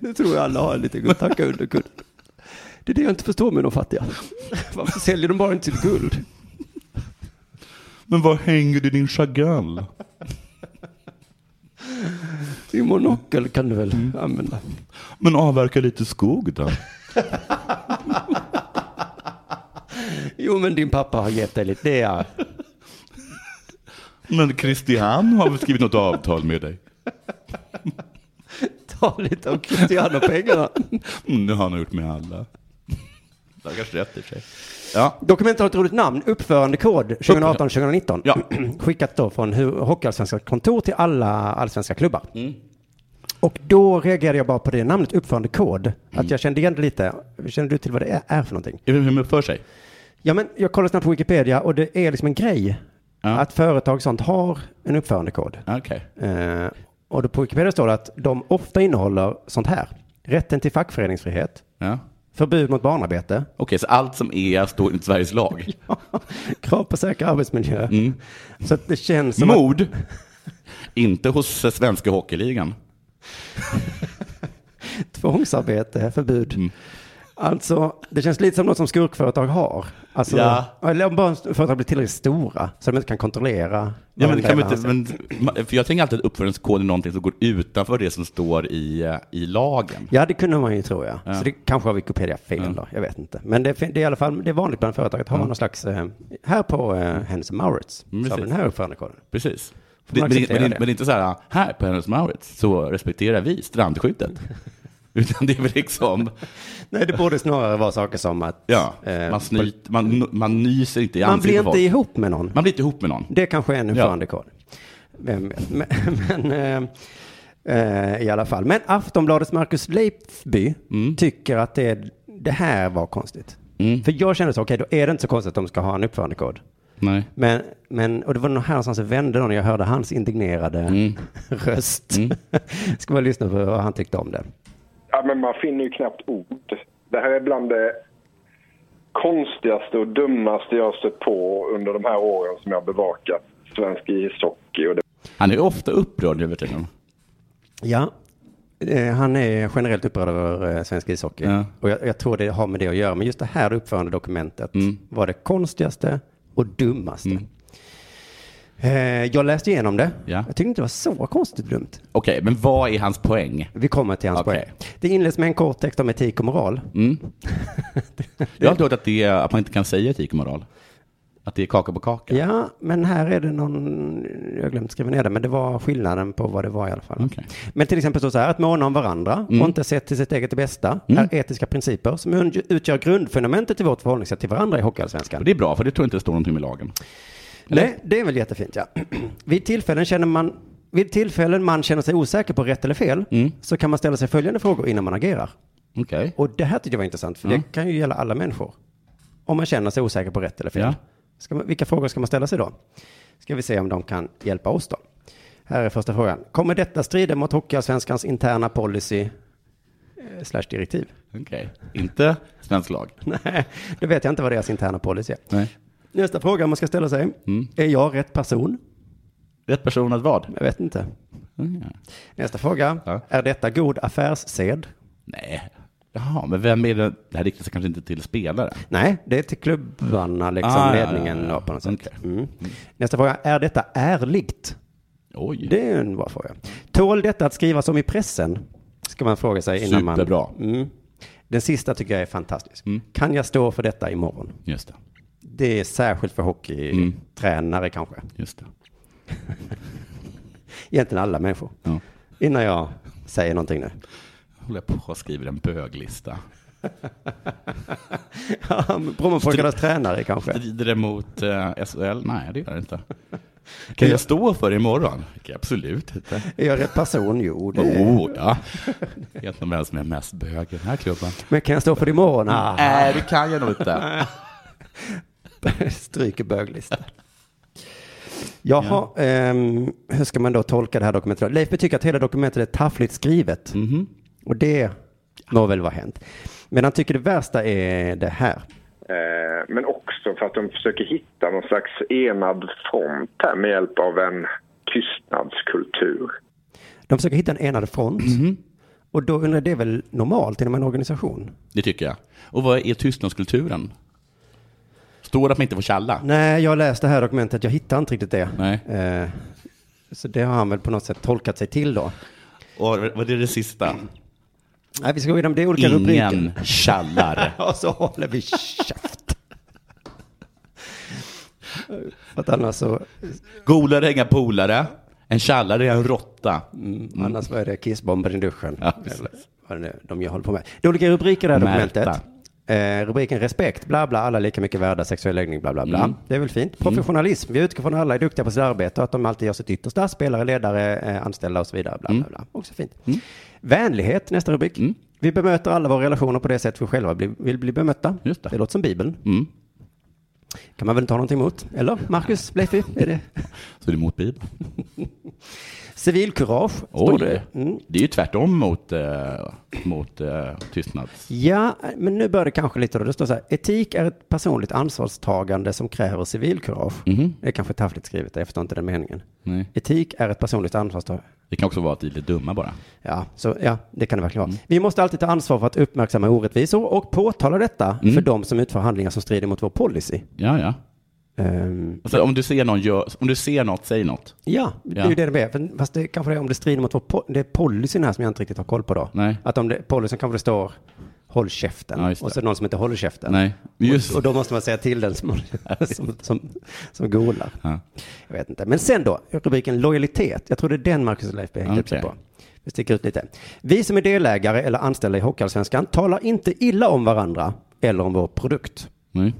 [SPEAKER 3] Det tror jag alla har en liten guld. Tacka under guld. Det är det jag inte förstår med de fattiga. Varför säljer de bara inte sitt guld?
[SPEAKER 2] Men var hänger du din Chagall?
[SPEAKER 3] Din monokel kan du väl använda?
[SPEAKER 2] Men avverka lite skog då.
[SPEAKER 3] Jo, men din pappa har gett dig lite. Det är...
[SPEAKER 2] Men Christian har väl skrivit något avtal med dig?
[SPEAKER 3] Ta lite av Christian och pengarna
[SPEAKER 2] Mm, det har han gjort med alla. Det har kanske rätt i och för sig. Ja,
[SPEAKER 3] Dokumentet har ett roligt namn, uppförandekod 2018-2019.
[SPEAKER 2] Ja.
[SPEAKER 3] Skickat då från hu- Hockeyallsvenska kontor till alla allsvenska klubbar.
[SPEAKER 2] Mm.
[SPEAKER 3] Och då reagerade jag bara på det namnet, uppförandekod.
[SPEAKER 2] Mm.
[SPEAKER 3] Att jag kände igen det lite. Känner du till vad det är- är för någonting?
[SPEAKER 2] hur hur man uppför sig.
[SPEAKER 3] Ja, men jag kollade snabbt på Wikipedia och det är liksom en grej.
[SPEAKER 2] Ja.
[SPEAKER 3] Att företag och sånt har en uppförandekod.
[SPEAKER 2] Okej.
[SPEAKER 3] Eh, och då på Wikipedia står det att de ofta innehåller sånt här. Rätten till fackföreningsfrihet,
[SPEAKER 2] Ja.
[SPEAKER 3] förbud mot barnarbete,
[SPEAKER 2] Okej, så allt som är står inte Sveriges lag.
[SPEAKER 3] krav på säker arbetsmiljö.
[SPEAKER 2] Mm.
[SPEAKER 3] Så att det känns som att,
[SPEAKER 2] Mod? Inte hos eh, svenska hockeyligan.
[SPEAKER 3] tvångsarbete, förbud.
[SPEAKER 2] Mm.
[SPEAKER 3] Alltså, det känns lite som något som skurkföretag har. Alltså,
[SPEAKER 2] Ja.
[SPEAKER 3] Eller om bara företag blir tillräckligt stora så de inte kan kontrollera.
[SPEAKER 2] Ja, men
[SPEAKER 3] vad
[SPEAKER 2] det
[SPEAKER 3] de
[SPEAKER 2] kan man
[SPEAKER 3] anser.
[SPEAKER 2] inte, men, ma- för jag tänker alltid att uppförandekoden är någonting som går utanför det som står i, eh, i lagen.
[SPEAKER 3] Ja, det kunde man ju tro, ja. Så det kanske har Wikipedia fel då, jag vet inte. Men det, fin- det är i alla fall det är vanligt bland företag att ha någon slags, eh, här på eh, Hennes Mauritz,
[SPEAKER 2] Mm,
[SPEAKER 3] så har vi
[SPEAKER 2] precis.
[SPEAKER 3] den här uppförandekoden.
[SPEAKER 2] Precis.
[SPEAKER 3] Får man
[SPEAKER 2] Det- men,
[SPEAKER 3] acceptera
[SPEAKER 2] men,
[SPEAKER 3] det?
[SPEAKER 2] men inte så här, "Ah, här på Hennes Mauritz så respekterar vi strandskyddet. Utan det är väl liksom,
[SPEAKER 3] Nej, det borde snarare vara saker som att
[SPEAKER 2] ja,
[SPEAKER 3] eh,
[SPEAKER 2] man, snyt, man, man nyser inte i
[SPEAKER 3] man
[SPEAKER 2] ansiktet
[SPEAKER 3] blir
[SPEAKER 2] på folk.
[SPEAKER 3] inte ihop med någon.
[SPEAKER 2] Man blir inte ihop med någon.
[SPEAKER 3] Det kanske är en uppförandekod. Vem vet? Men, men eh, eh, i alla fall. Men Aftonbladets Marcus Leifby tycker att det, det här var konstigt.
[SPEAKER 2] Mm.
[SPEAKER 3] För jag kände så, okej, då är det inte så konstigt att de ska ha en uppförandekod.
[SPEAKER 2] Nej.
[SPEAKER 3] Men, men, och det var nog här någonstans jag vände då när jag hörde hans indignerade röst. Ska man lyssna på vad han tyckte om det.
[SPEAKER 5] Ja, men man finner ju knappt ord. Det här är bland det konstigaste och dummaste jag har stött på under de här åren som jag har bevakat svensk ishockey. Och det
[SPEAKER 2] Han är ofta upprörd nu för tiden.
[SPEAKER 3] Ja, eh, han är generellt upprörd över eh, svensk ishockey.
[SPEAKER 2] Ja.
[SPEAKER 3] Och jag, jag tror det har med det att göra. Men just det här uppförande dokumentet
[SPEAKER 2] Mm.
[SPEAKER 3] var det konstigaste och dummaste. Eh, Jag läste igenom det.
[SPEAKER 2] Ja.
[SPEAKER 3] Jag tyckte inte det var så konstigt dumt.
[SPEAKER 2] Okej, men vad är hans poäng?
[SPEAKER 3] Vi kommer till hans
[SPEAKER 2] Okej. Mm.
[SPEAKER 3] poäng. Det inleds med en kort text om etik och moral.
[SPEAKER 2] Jag har alltid hört att, det är, att man inte kan säga etik och moral. Att det är kaka på kaka.
[SPEAKER 3] Ja, men här är det någon, jag har glömt skriva ner det, men det var skillnaden på vad det var i alla fall.
[SPEAKER 2] Okej.
[SPEAKER 3] Men till exempel står så här, att måna om varandra och inte se till sitt eget bästa är etiska principer som un- utgör grundfundamentet i vårt förhållningssätt till varandra i Hockeyallsvenskan.
[SPEAKER 2] Och det är bra, för det tror jag inte det står någonting med lagen.
[SPEAKER 3] Nej, det är väl jättefint ja. vid, tillfällen känner man, vid tillfällen man känner sig osäker på rätt eller fel så kan man ställa sig följande frågor innan man agerar.
[SPEAKER 2] Okej.
[SPEAKER 3] Och det här tyckte jag var intressant, för
[SPEAKER 2] Mm.
[SPEAKER 3] det kan ju gälla alla människor. Om man känner sig osäker på rätt eller fel.
[SPEAKER 2] Ja.
[SPEAKER 3] Ska man, vilka frågor ska man ställa sig då? Ska vi se om de kan hjälpa oss då. Här är första frågan. Kommer detta strida mot Hockeyallsvenskans interna policy eh, slash direktiv?
[SPEAKER 2] Okej. Inte svensk lag.
[SPEAKER 3] Nej, det vet jag inte vad deras interna policy är.
[SPEAKER 2] Nej.
[SPEAKER 3] Nästa fråga man ska ställa sig.
[SPEAKER 2] Mm.
[SPEAKER 3] Är jag rätt person?
[SPEAKER 2] Rätt person att vad?
[SPEAKER 3] Jag vet inte.
[SPEAKER 2] Mm, ja.
[SPEAKER 3] Nästa fråga.
[SPEAKER 2] Ja.
[SPEAKER 3] Är detta god affärssed?
[SPEAKER 2] Nej. Jaha, men vem är det? Det här riktar sig kanske inte till spelare.
[SPEAKER 3] Nej, det är till klubbarna, liksom
[SPEAKER 2] Ah, ja, ja,
[SPEAKER 3] ledningen
[SPEAKER 2] ja.
[SPEAKER 3] då på något sätt.
[SPEAKER 2] Okej.
[SPEAKER 3] Mm. Nästa fråga. Är detta ärligt?
[SPEAKER 2] Oj.
[SPEAKER 3] Det är en bra fråga. Tål detta att skrivas om i pressen? Ska man fråga sig innan man...
[SPEAKER 2] Superbra. Mm.
[SPEAKER 3] Mm. Den sista tycker jag är fantastisk. Kan jag stå för detta imorgon?
[SPEAKER 2] Just det.
[SPEAKER 3] Det är särskilt för
[SPEAKER 2] Mm.
[SPEAKER 3] hockeytränare kanske.
[SPEAKER 2] Just det.
[SPEAKER 3] Egentligen alla människor.
[SPEAKER 2] Ja.
[SPEAKER 3] Innan jag säger någonting nu.
[SPEAKER 2] Håller jag på och skriver en böglista.
[SPEAKER 3] Ja, men Brommapojkarnas tränare kanske.
[SPEAKER 2] Strider det mot eh, SHL? Nej, det gör det inte. Kan jag stå för det imorgon? Det kan jag absolut inte.
[SPEAKER 3] Är jag rätt person? Jo, det är...
[SPEAKER 2] Oh, ja. Jag vet inte vem som är mest bög i den här klubben.
[SPEAKER 3] Men kan jag stå för det imorgon?
[SPEAKER 2] Mm.
[SPEAKER 3] Ah,
[SPEAKER 2] Nej, det kan jag nog inte.
[SPEAKER 3] stryker böglistan. Jaha, ehm, hur ska man då tolka det här dokumentet? då? Leif tycker att hela dokumentet är taffligt skrivet.
[SPEAKER 2] Mhm.
[SPEAKER 3] Och det må väl vara hänt. Men han tycker det värsta är det här.
[SPEAKER 5] Eh, men också för att de försöker hitta någon slags enad front här med hjälp av en tystnadskultur.
[SPEAKER 3] De försöker hitta en enad front.
[SPEAKER 2] Mhm.
[SPEAKER 3] Och då undrar jag, det är väl normalt inom en organisation?
[SPEAKER 2] Det tycker jag. Och vad är tystnadskulturen? Står det att man inte får tjalla?
[SPEAKER 3] Nej, jag läste det här dokumentet, jag hittar inte riktigt det.
[SPEAKER 2] Nej.
[SPEAKER 3] Eh, så det har han väl på något sätt tolkat sig till då.
[SPEAKER 2] Och vad är det sista?
[SPEAKER 3] Nej, vi ska gå igenom det är olika rubriker.
[SPEAKER 2] Ingen tjallar.
[SPEAKER 3] Och så håller vi käft. För att annars så,
[SPEAKER 2] Golare är inga polare. En tjallare är en råtta.
[SPEAKER 3] annars var det kissbomber i duschen.
[SPEAKER 2] Mm. Ja, precis.
[SPEAKER 3] Eller vad det nu, de jag håller på med. Det är olika rubriker i det här
[SPEAKER 2] Märta.
[SPEAKER 3] dokumentet. Eh, rubriken respekt, bla bla, alla lika mycket värda, sexuell läggning, bla bla bla.
[SPEAKER 2] Mm.
[SPEAKER 3] Det är väl fint. Professionalism, vi utgår från att alla är duktiga på sitt arbete och att de alltid gör sitt yttersta, spelare, ledare, eh, anställda och så vidare, bla
[SPEAKER 2] Mm.
[SPEAKER 3] bla bla. Också fint. Vänlighet, nästa rubrik. Vi bemöter alla våra relationer på det sätt vi själva bli, vill bli bemötta.
[SPEAKER 2] Just det.
[SPEAKER 3] låter som Bibeln.
[SPEAKER 2] Mm.
[SPEAKER 3] Kan man väl inte ha någonting emot? Eller, Marcus, Leifby, är det?
[SPEAKER 2] Så det är mot Bibeln.
[SPEAKER 3] Civilkurage, står
[SPEAKER 2] Oj,
[SPEAKER 3] det. Mm.
[SPEAKER 2] det är ju tvärtom mot, eh, mot eh, tystnads...
[SPEAKER 3] Ja, men nu börjar det kanske lite då. Det står så här, etik är ett personligt ansvarstagande som kräver civilkurage. Det är kanske taffligt skrivet, jag förstår inte den meningen.
[SPEAKER 2] Mhm. Nej.
[SPEAKER 3] Etik är ett personligt ansvarstagande.
[SPEAKER 2] Det kan också vara att vi är lite dumma bara.
[SPEAKER 3] Ja, så, ja, det kan det verkligen vara.
[SPEAKER 2] Mm.
[SPEAKER 3] Vi måste alltid ta ansvar för att uppmärksamma orättvisor och påtala detta
[SPEAKER 2] Mm.
[SPEAKER 3] för de som utför handlingar som strider mot vår policy.
[SPEAKER 2] Ja, ja.
[SPEAKER 3] Ehm,
[SPEAKER 2] Alltså, om, du ser någon gör, om du ser något, säg något.
[SPEAKER 3] ja, det är
[SPEAKER 2] Ja.
[SPEAKER 3] ju det det är. För- Fast det kanske det är om det strider mot vår po- det är policyn här som jag inte riktigt har koll på då.
[SPEAKER 2] Nej.
[SPEAKER 3] Att om det, policyn kanske det står håll käften
[SPEAKER 2] Ja, just det.
[SPEAKER 3] och så är det någon som inte håller käften.
[SPEAKER 2] Nej, men just
[SPEAKER 3] Och, och då måste man säga till den som, som, som, som golar.
[SPEAKER 2] Ja.
[SPEAKER 3] Jag vet inte. Men sen då, rubriken lojalitet. Jag tror det är den Marcus och Leif B hängde upp sig
[SPEAKER 2] Okej.
[SPEAKER 3] på. Vi sticker ut lite. Vi som är delägare eller anställda i Hockeyallsvenskan talar inte illa om varandra eller om vår produkt.
[SPEAKER 2] Nej.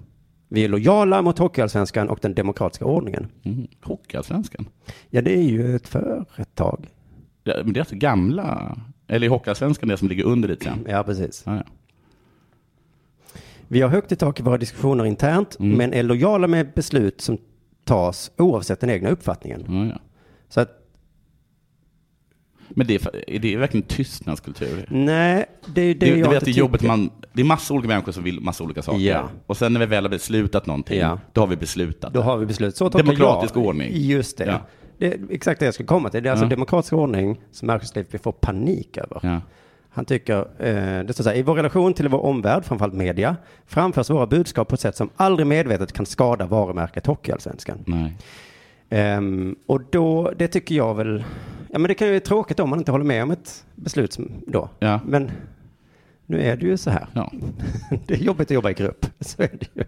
[SPEAKER 3] Vi är lojala mot Hockeyallsvenskan och den demokratiska ordningen.
[SPEAKER 2] Mm. Hockeyallsvenskan.
[SPEAKER 3] Ja, det är ju ett företag.
[SPEAKER 2] Ja, men det är alltså gamla... Eller i Hockeyallsvenskan, det som ligger under lite grann.
[SPEAKER 3] Ja, precis.
[SPEAKER 2] Ja, ja.
[SPEAKER 3] Vi har högt i tak i våra diskussioner internt,
[SPEAKER 2] Mm.
[SPEAKER 3] men är lojala med beslut som tas oavsett den egna uppfattningen.
[SPEAKER 2] Ja, ja.
[SPEAKER 3] Så att
[SPEAKER 2] Men det är, fa- är det verkligen tystnadskultur?
[SPEAKER 3] Nej, det är det,
[SPEAKER 2] Det,
[SPEAKER 3] jag
[SPEAKER 2] du vet,
[SPEAKER 3] inte
[SPEAKER 2] det är jobbigt
[SPEAKER 3] tycker.
[SPEAKER 2] man, det är massa olika människor som vill massa olika saker.
[SPEAKER 3] Ja.
[SPEAKER 2] Och sen när vi väl har beslutat någonting,
[SPEAKER 3] Ja.
[SPEAKER 2] då har vi beslutat.
[SPEAKER 3] Då har vi beslut. Så tolkar
[SPEAKER 2] Demokratisk
[SPEAKER 3] jag.
[SPEAKER 2] ordning.
[SPEAKER 3] Just det.
[SPEAKER 2] Ja.
[SPEAKER 3] Det är exakt det jag skulle komma till. Det är alltså
[SPEAKER 2] Ja.
[SPEAKER 3] demokratisk ordning som Marcus Leifby får panik över.
[SPEAKER 2] Ja.
[SPEAKER 3] Han tycker, eh, det står så här, i vår relation till vår omvärld, framförallt media, framförs våra budskap på ett sätt som aldrig medvetet kan skada varumärket Hockeyallsvenskan.
[SPEAKER 2] Nej.
[SPEAKER 3] Ehm, och då, det tycker jag väl, ja men det kan ju vara tråkigt om man inte håller med om ett beslut som, då.
[SPEAKER 2] Ja.
[SPEAKER 3] Men nu är det ju så här.
[SPEAKER 2] Ja.
[SPEAKER 3] Det är jobbigt att jobba i grupp. Så är det ju.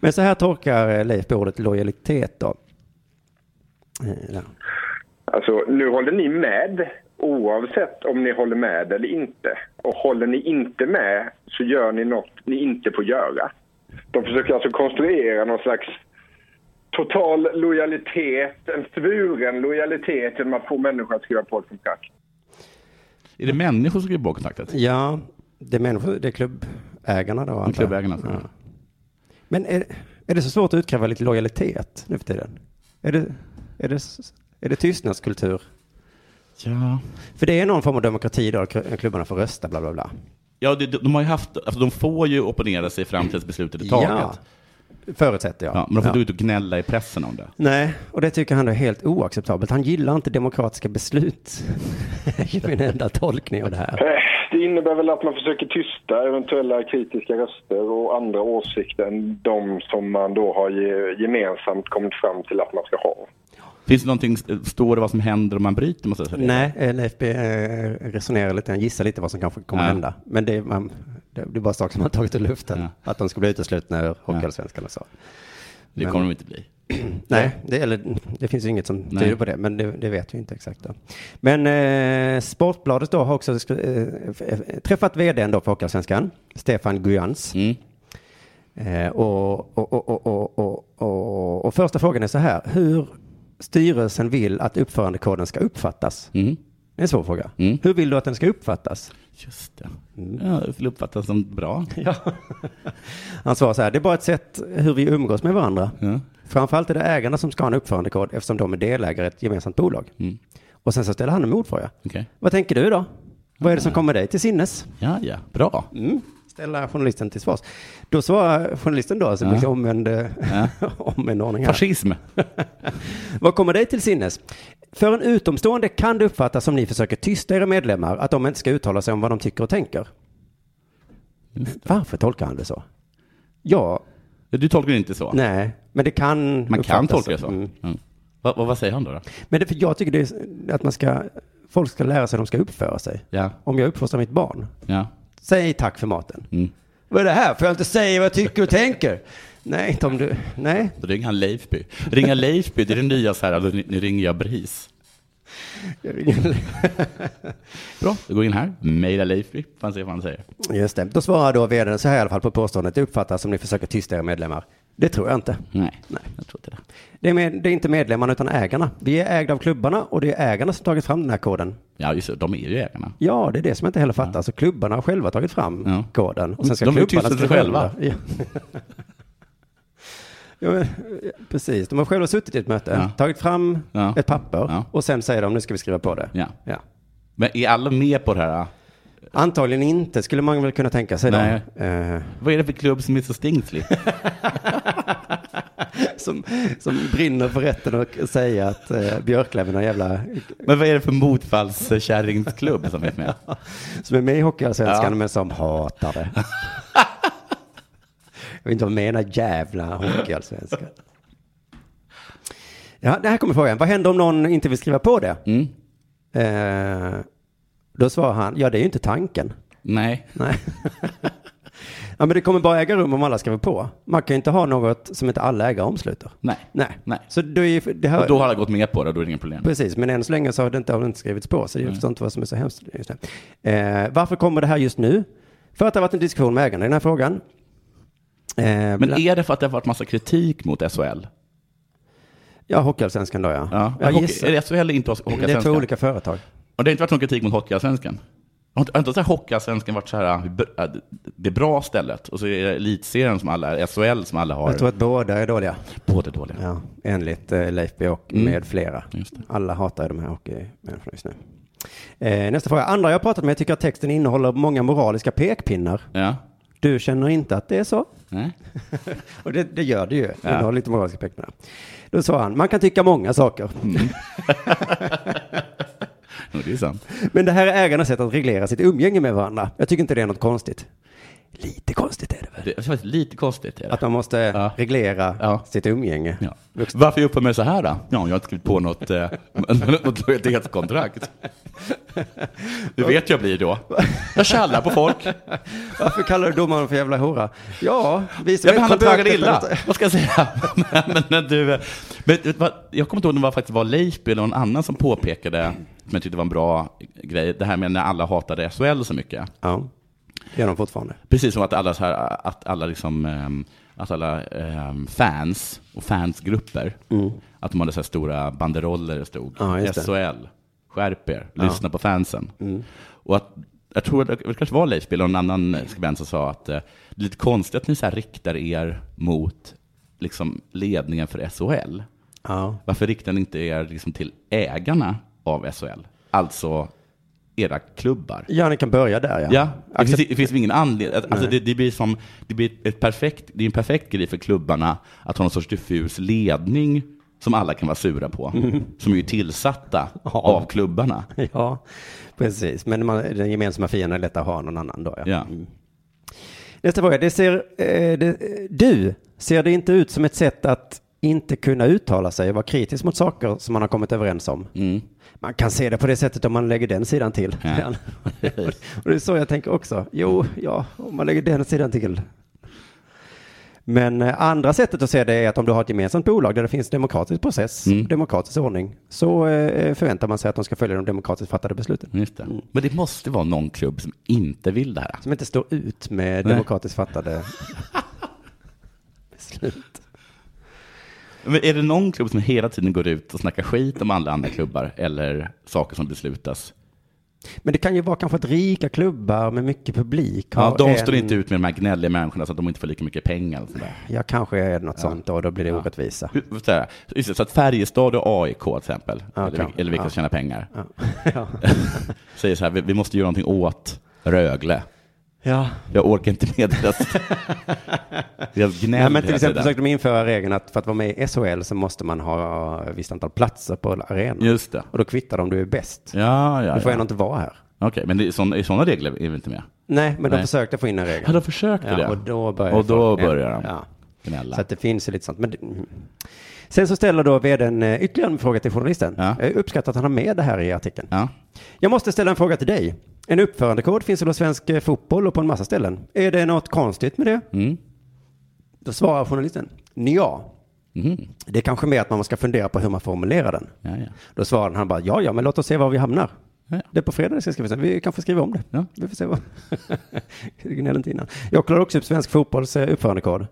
[SPEAKER 3] Men så här tolkar eh, Leif på ordet lojalitet då. Eh, ja.
[SPEAKER 5] Alltså, nu håller ni med oavsett om ni håller med eller inte. Och håller ni inte med så gör ni något ni inte får göra. De försöker alltså konstruera någon slags total lojalitet, en svuren lojalitet genom att få människor att skriva på ett kontrakt.
[SPEAKER 2] Är det människor som skriver på kontraktet?
[SPEAKER 3] Ja, det är, människor, det är klubbägarna då. antar jag.
[SPEAKER 2] klubbägarna, så.
[SPEAKER 3] Men är, är det så svårt att utkräva lite lojalitet nu för tiden? Är det, är det, s- är det tystnadskultur?
[SPEAKER 2] Ja.
[SPEAKER 3] För det är någon form av demokrati då, kl- klubbarna får rösta, bla bla bla.
[SPEAKER 2] Ja, det, de, har ju haft, alltså, de får ju opponera sig fram till att beslutet är taget. Ja.
[SPEAKER 3] Ja, förutsätter jag.
[SPEAKER 2] men de får
[SPEAKER 3] Ja.
[SPEAKER 2] inte ut och gnälla i pressen om det.
[SPEAKER 3] Nej, och det tycker han då är helt oacceptabelt. Han gillar inte demokratiska beslut. Det är min enda tolkning av det här.
[SPEAKER 5] Eh, Det innebär väl att man försöker tysta eventuella kritiska röster och andra åsikter än de som man då har ge- gemensamt kommit fram till att man ska ha.
[SPEAKER 2] Finns det någonting, står det vad som händer om man bryter mot dessa regler?
[SPEAKER 3] Nej, eh, Leif B, eh, resonerar lite, han gissar lite vad som kanske kommer
[SPEAKER 2] Ja.
[SPEAKER 3] hända. Men det är, man, det det är bara saker som han tagit ur luften.
[SPEAKER 2] Ja.
[SPEAKER 3] Att de ska bli uteslutna ur Hockeyallsvenskan så.
[SPEAKER 2] Det kommer de inte bli.
[SPEAKER 3] Nej, det, eller, det finns ju inget som tyder på det, men det, det vet vi inte exakt. Då. Men eh, Sportbladet då har också skri- eh, f- träffat vdn då för Hockeyallsvenskan, Stefan Guyans.
[SPEAKER 2] Mm.
[SPEAKER 3] Eh, och, och, och, och, och, och, och, och första frågan är så här, hur styrelsen vill att uppförandekoden ska uppfattas?
[SPEAKER 2] Mm.
[SPEAKER 3] Det är en svår fråga.
[SPEAKER 2] Mm.
[SPEAKER 3] Hur vill du att den ska uppfattas?
[SPEAKER 2] Just det.
[SPEAKER 3] Mm.
[SPEAKER 2] Ja, det skulle uppfattas som bra.
[SPEAKER 3] Han svarar så här, det är bara ett sätt hur vi umgås med varandra.
[SPEAKER 2] Ja.
[SPEAKER 3] Framförallt är det ägarna som ska ha en uppförandekod eftersom de är delägare i ett gemensamt bolag.
[SPEAKER 2] Mm.
[SPEAKER 3] Och sen så ställer han en motfråga.
[SPEAKER 2] Okej.
[SPEAKER 3] Vad tänker du då? Vad är
[SPEAKER 2] Mm.
[SPEAKER 3] det som kommer dig till sinnes? Mm.
[SPEAKER 2] Ja, ja. Bra.
[SPEAKER 3] Ställa journalisten till svars. Då svarar journalisten då, alltså ja. liksom omvänd, omvänd ordning här.
[SPEAKER 2] Fascism.
[SPEAKER 3] Vad kommer dig till sinnes? För en utomstående kan det uppfattas som ni försöker tysta era medlemmar att de inte ska uttala sig om vad de tycker och tänker. Varför tolkar han det så? Ja,
[SPEAKER 2] Du tolkar det inte så?
[SPEAKER 3] nej, men det kan
[SPEAKER 2] Man kan
[SPEAKER 3] uppfattas
[SPEAKER 2] tolka det så.
[SPEAKER 3] Mm.
[SPEAKER 2] Mm. Vad- vad- vad säger han då? då?
[SPEAKER 3] Men det, för jag tycker det är s- att man ska, folk ska lära sig hur de ska uppföra sig.
[SPEAKER 2] Ja.
[SPEAKER 3] Om jag uppfostrar mitt barn,
[SPEAKER 2] Ja.
[SPEAKER 3] säg tack för maten.
[SPEAKER 2] Mm.
[SPEAKER 3] Vad är det här? Får jag inte säga vad jag tycker och tänker? Nej, inte om du, nej,
[SPEAKER 2] Då ringer han Leifby. Ringa Leifby, det är det nya så här, alltså, nu nu ringer jag BRIS.
[SPEAKER 3] Jag ringer-
[SPEAKER 2] Bra, vi går in här. Mejla Leifby, får se vad han säger.
[SPEAKER 3] Just det. Då svarar då vdn så här i alla fall på påståendet. Det uppfattas som ni försöker tysta era medlemmar. Det tror jag inte.
[SPEAKER 2] Nej,
[SPEAKER 3] Nej.
[SPEAKER 2] jag tror inte det.
[SPEAKER 3] Det är, med, det är inte medlemmarna utan ägarna. Vi är ägda av klubbarna och det är ägarna som tagit fram den här koden.
[SPEAKER 2] Ja, just det. De är ju ägarna.
[SPEAKER 3] Ja, det är det som jag inte heller fattar. Så klubbarna har själva tagit fram
[SPEAKER 2] Ja.
[SPEAKER 3] koden. Och sen ska
[SPEAKER 2] De har ju
[SPEAKER 3] klubbarna
[SPEAKER 2] tystat sig
[SPEAKER 3] skriva
[SPEAKER 2] själva.
[SPEAKER 3] under. Ja. ja, men, ja, precis. De har själva suttit i ett möte,
[SPEAKER 2] Ja.
[SPEAKER 3] tagit fram
[SPEAKER 2] Ja.
[SPEAKER 3] ett papper
[SPEAKER 2] Ja.
[SPEAKER 3] och sen säger de nu ska vi skriva på det.
[SPEAKER 2] Ja. Men är alla med på det här?
[SPEAKER 3] Antagligen inte, skulle man väl kunna tänka sig. då.
[SPEAKER 2] Nej.
[SPEAKER 3] Eh,
[SPEAKER 2] Vad är det för klubb som är så stingslig?
[SPEAKER 3] som, som brinner för rätten att säga att eh, Björklöven är en jävla...
[SPEAKER 2] Men vad är det för motfallskärringsklubb som är med?
[SPEAKER 3] Som är med i Hockeyallsvenskan
[SPEAKER 2] Ja.
[SPEAKER 3] men som hatar det. Jag vet inte vad jag menar jävla Hockeyallsvenskan. Ja, det här kommer frågan. Vad händer om någon inte vill skriva på det?
[SPEAKER 2] Mm.
[SPEAKER 3] Eh, då svarar han, ja det är ju inte tanken.
[SPEAKER 2] Nej.
[SPEAKER 3] Nej. ja, men det kommer bara äga rum om alla skriver på. Man kan ju inte ha något som inte alla ägare omsluter.
[SPEAKER 2] Nej.
[SPEAKER 3] Nej.
[SPEAKER 2] Nej.
[SPEAKER 3] Så då är ju, det här,
[SPEAKER 2] Och då har alla gått med på det, då är det inga problem.
[SPEAKER 3] Precis, men än så länge så har det inte, har det inte skrivits på,
[SPEAKER 2] Mm.
[SPEAKER 3] så jag förstår inte vad som är så hemskt. Just det. Eh, varför kommer det här just nu? För att det har varit en diskussion med ägarna i den här frågan. Eh,
[SPEAKER 2] Men
[SPEAKER 3] bland-
[SPEAKER 2] är det för att det har varit massa kritik mot SHL?
[SPEAKER 3] Ja, Hockeyallsvenskan då ja.
[SPEAKER 2] Ja.
[SPEAKER 3] jag
[SPEAKER 2] Hockey-
[SPEAKER 3] gissar.
[SPEAKER 2] är det SHL inte
[SPEAKER 3] det är två
[SPEAKER 2] Hockeyallsvenskan?
[SPEAKER 3] olika företag.
[SPEAKER 2] Och det har inte varit någon kritik mot Hockeyallsvenskan? Har inte- har inte så här Hockeyallsvenskan varit så här, eh, b- eh, det bra stället? Och så är det elitserien som alla, SHL som alla har.
[SPEAKER 3] Jag tror att båda är dåliga.
[SPEAKER 2] Båda dåliga.
[SPEAKER 3] Ja, enligt eh, Leif och
[SPEAKER 2] Mm.
[SPEAKER 3] med flera.
[SPEAKER 2] Just det.
[SPEAKER 3] Alla hatar ju de här hockeymänniskorna just nu. Eh, nästa fråga. Andra jag pratat med tycker att texten innehåller många moraliska pekpinnar.
[SPEAKER 2] Ja.
[SPEAKER 3] Du känner inte att det är så?
[SPEAKER 2] Nej.
[SPEAKER 3] Och det, det gör det ju. Det har lite moraliska pekpinnar. Då sa han, man kan tycka många saker.
[SPEAKER 2] Jo, Det är sant.
[SPEAKER 3] Men det här är ägarnas sätt att reglera sitt umgänge med varandra. Jag tycker inte det är något konstigt. Lite konstigt är det väl?
[SPEAKER 2] Det det är faktiskt lite konstigt. Är det?
[SPEAKER 3] Att man måste
[SPEAKER 2] Ja.
[SPEAKER 3] reglera
[SPEAKER 2] Ja.
[SPEAKER 3] sitt umgänge.
[SPEAKER 2] Ja. Varför uppför mig så här då? Ja, jag har inte skrivit på något, eh, något lojalitetskontrakt. Du vet jag blir då. Jag tjallar på folk.
[SPEAKER 3] Varför kallar du domaren för jävla hora? Ja, vi som
[SPEAKER 2] Jag
[SPEAKER 3] är
[SPEAKER 2] behandlar bögar
[SPEAKER 3] kontraktet-
[SPEAKER 2] illa. Vad ska jag säga? Men, men när du, eh, men, vet du vad? jag kommer inte ihåg om det var faktiskt var Leifby eller någon annan som påpekade, som jag tyckte var en bra grej, det här med när alla hatade SHL så mycket.
[SPEAKER 3] Ja, det gör de fortfarande.
[SPEAKER 2] Precis som att alla, så här, att alla, liksom, ehm, att alla ehm, fans och fansgrupper, att de hade så här stora banderoller där det stod
[SPEAKER 3] Mm. Ja, just det. Mm.
[SPEAKER 2] SHL, skärp er, lyssna på fansen. Och att, jag tror att det kanske var Leif Bill och någon annan skribent som sa att eh, det är lite konstigt att ni så här riktar er mot liksom, ledningen för SHL.
[SPEAKER 3] Ja.
[SPEAKER 2] Varför riktar ni inte er liksom, till ägarna av SHL? Alltså era klubbar.
[SPEAKER 3] ja, ni kan börja där ja.
[SPEAKER 2] Ja, det
[SPEAKER 3] Accep-
[SPEAKER 2] finns, det finns ingen anledning. Alltså det, det blir som, det blir ett perfekt, det är en perfekt grej för klubbarna att ha någon sorts diffus ledning som alla kan vara sura på.
[SPEAKER 3] Mm.
[SPEAKER 2] Som är ju tillsatta av klubbarna.
[SPEAKER 3] ja, precis. Men man, den gemensamma fienden är lätt att ha någon annan då ja.
[SPEAKER 2] Ja.
[SPEAKER 3] Nästa fråga. Det ser, eh, det, eh, du, ser det inte ut som ett sätt att inte kunna uttala sig och vara kritisk mot saker som man har kommit överens om? Man kan se det på det sättet om man lägger den sidan till.
[SPEAKER 2] Ja.
[SPEAKER 3] och det är så jag tänker också. Jo, ja, om man lägger den sidan till. Men eh, andra sättet att se det är att om du har ett gemensamt bolag där det finns demokratisk process, demokratisk ordning, så eh, förväntar man sig att de ska följa de demokratiskt fattade besluten.
[SPEAKER 2] Just det. Men det måste vara någon klubb som inte vill det här.
[SPEAKER 3] Som inte står ut med
[SPEAKER 2] Nej.
[SPEAKER 3] demokratiskt fattade beslut.
[SPEAKER 2] Men är det någon klubb som hela tiden går ut och snackar skit om alla andra klubbar eller saker som beslutas?
[SPEAKER 3] Men det kan ju vara kanske att rika klubbar med mycket publik
[SPEAKER 2] Ja,
[SPEAKER 3] har
[SPEAKER 2] de
[SPEAKER 3] en-
[SPEAKER 2] står inte ut med de här gnälliga människorna så att de inte får lika mycket pengar. Och sådär.
[SPEAKER 3] Ja, kanske är det något sånt och då blir det orättvisa.
[SPEAKER 2] Hur- vad säger jag? Just det, Så att Färjestad och AIK till exempel,
[SPEAKER 3] Ja,
[SPEAKER 2] eller,
[SPEAKER 3] kanske.
[SPEAKER 2] vilka- eller vilka
[SPEAKER 3] Ja.
[SPEAKER 2] som tjänar pengar,
[SPEAKER 3] Ja.
[SPEAKER 2] säger så här, vi, vi måste göra någonting åt Rögle.
[SPEAKER 3] ja.
[SPEAKER 2] Jag orkar inte med deras, deras gnäll
[SPEAKER 3] Nej, men till
[SPEAKER 2] hela
[SPEAKER 3] exempel
[SPEAKER 2] tiden.
[SPEAKER 3] försökte de införa regeln att för att vara med i SHL så måste man ha ett visst antal platser på arenan.
[SPEAKER 2] Just det.
[SPEAKER 3] Och då kvittar de om du är bäst.
[SPEAKER 2] Ja, ja,
[SPEAKER 3] Du får
[SPEAKER 2] ja.
[SPEAKER 3] ändå inte vara här.
[SPEAKER 2] Okej, men det är såna, i sådana regler är vi inte med?
[SPEAKER 3] Nej, men de
[SPEAKER 2] Nej.
[SPEAKER 3] försökte få in en regel.
[SPEAKER 2] Ja, de försökte det.
[SPEAKER 3] Ja, och då börjar
[SPEAKER 2] Och då
[SPEAKER 3] folk-
[SPEAKER 2] börjar de
[SPEAKER 3] Ja.
[SPEAKER 2] gnälla.
[SPEAKER 3] Så att det finns ju lite sånt. Men det, mm. Sen så ställer då vdn eh, ytterligare en fråga till journalisten.
[SPEAKER 2] Ja.
[SPEAKER 3] Jag uppskattar att han har med det här i artikeln.
[SPEAKER 2] ja.
[SPEAKER 3] Jag måste ställa en fråga till dig. En uppförandekod finns väl hos svensk eh, fotboll och på en massa ställen. Är det något konstigt med det?
[SPEAKER 2] Mm.
[SPEAKER 3] Då svarar journalisten. Ja.
[SPEAKER 2] Mm.
[SPEAKER 3] Det är kanske mer att man ska fundera på hur man formulerar den.
[SPEAKER 2] Ja, ja.
[SPEAKER 3] Då svarade han bara, ja, ja, men låt oss se var vi hamnar.
[SPEAKER 2] Ja.
[SPEAKER 3] Det är på fredag det ska skrivas. Vi kanske skriver om det.
[SPEAKER 2] Ja.
[SPEAKER 3] Vi får se vad... Gnäll inte innan. Jag kollar också upp svensk fotbolls eh, uppförandekod.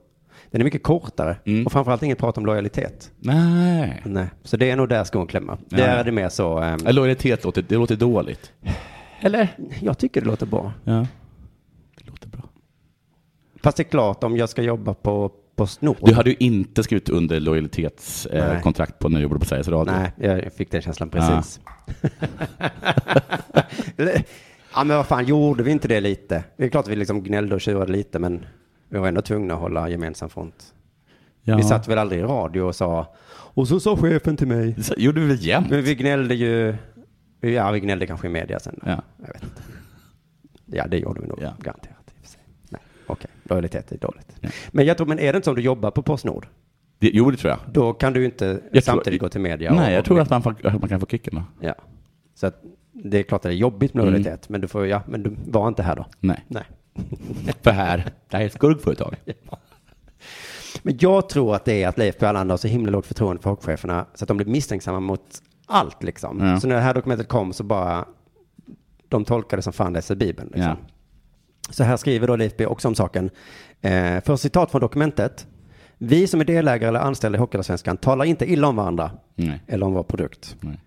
[SPEAKER 3] Den är mycket kortare
[SPEAKER 2] Mm.
[SPEAKER 3] och framförallt inget prat om lojalitet.
[SPEAKER 2] Nej.
[SPEAKER 3] Nej. Så det är nog där skon klämmer.
[SPEAKER 2] Ja.
[SPEAKER 3] Där är det mer så. ehm,
[SPEAKER 2] Ja, Lojalitet låter, det låter dåligt. Eller?
[SPEAKER 3] jag tycker det låter bra.
[SPEAKER 2] Ja. Det låter bra.
[SPEAKER 3] Fast det är klart om jag ska jobba på Postnord.
[SPEAKER 2] Du hade ju inte skrivit under lojalitetskontrakt eh,
[SPEAKER 3] Nej.
[SPEAKER 2] kontrakt på när du jobbade på Sveriges Radio.
[SPEAKER 3] Nej, jag fick den känslan precis. ja, men vad fan, gjorde vi inte det lite? Det är klart att vi liksom gnällde och tjurade lite, men vi var ändå tvungna att hålla gemensam front.
[SPEAKER 2] Ja.
[SPEAKER 3] Vi satt väl aldrig i radio och sa, och så sa chefen till mig.
[SPEAKER 2] Det sa- gjorde vi väl jämt?
[SPEAKER 3] Men vi gnällde ju, ja, vi gnällde kanske i media sen.
[SPEAKER 2] Ja.
[SPEAKER 3] Jag vet inte. Ja, det gjorde vi nog
[SPEAKER 2] Ja.
[SPEAKER 3] garanterat. i och för sig. Nej, okej, lojalitet är dåligt.
[SPEAKER 2] Ja.
[SPEAKER 3] Men jag tror, men är det inte som du jobbar på Postnord?
[SPEAKER 2] Det, jo, det tror jag.
[SPEAKER 3] Då kan du ju inte
[SPEAKER 2] jag
[SPEAKER 3] samtidigt
[SPEAKER 2] tror,
[SPEAKER 3] gå till media. och-
[SPEAKER 2] Nej, jag
[SPEAKER 3] och
[SPEAKER 2] tror att man, får, att man kan få kicken. Då.
[SPEAKER 3] Ja. Så att det är klart att det är jobbigt med lojalitet, men du får, ja, men du var inte här då.
[SPEAKER 2] Mm. Nej.
[SPEAKER 3] Nej.
[SPEAKER 2] För här, det här är ett skurkföretag.
[SPEAKER 3] Men jag tror att det är att Leif Berlander har så himla lågt förtroende för hockeycheferna så att de blir misstänksamma mot allt liksom.
[SPEAKER 2] Ja.
[SPEAKER 3] Så när det här dokumentet kom så bara, de tolkade som fan läser Bibeln. Liksom.
[SPEAKER 2] Ja.
[SPEAKER 3] Så här skriver då Leif B också om saken. Eh, för citat från dokumentet. Vi som är delägare eller anställda i Hockeyallsvenskan talar inte illa om varandra
[SPEAKER 2] Nej.
[SPEAKER 3] eller om vår produkt.
[SPEAKER 2] Nej.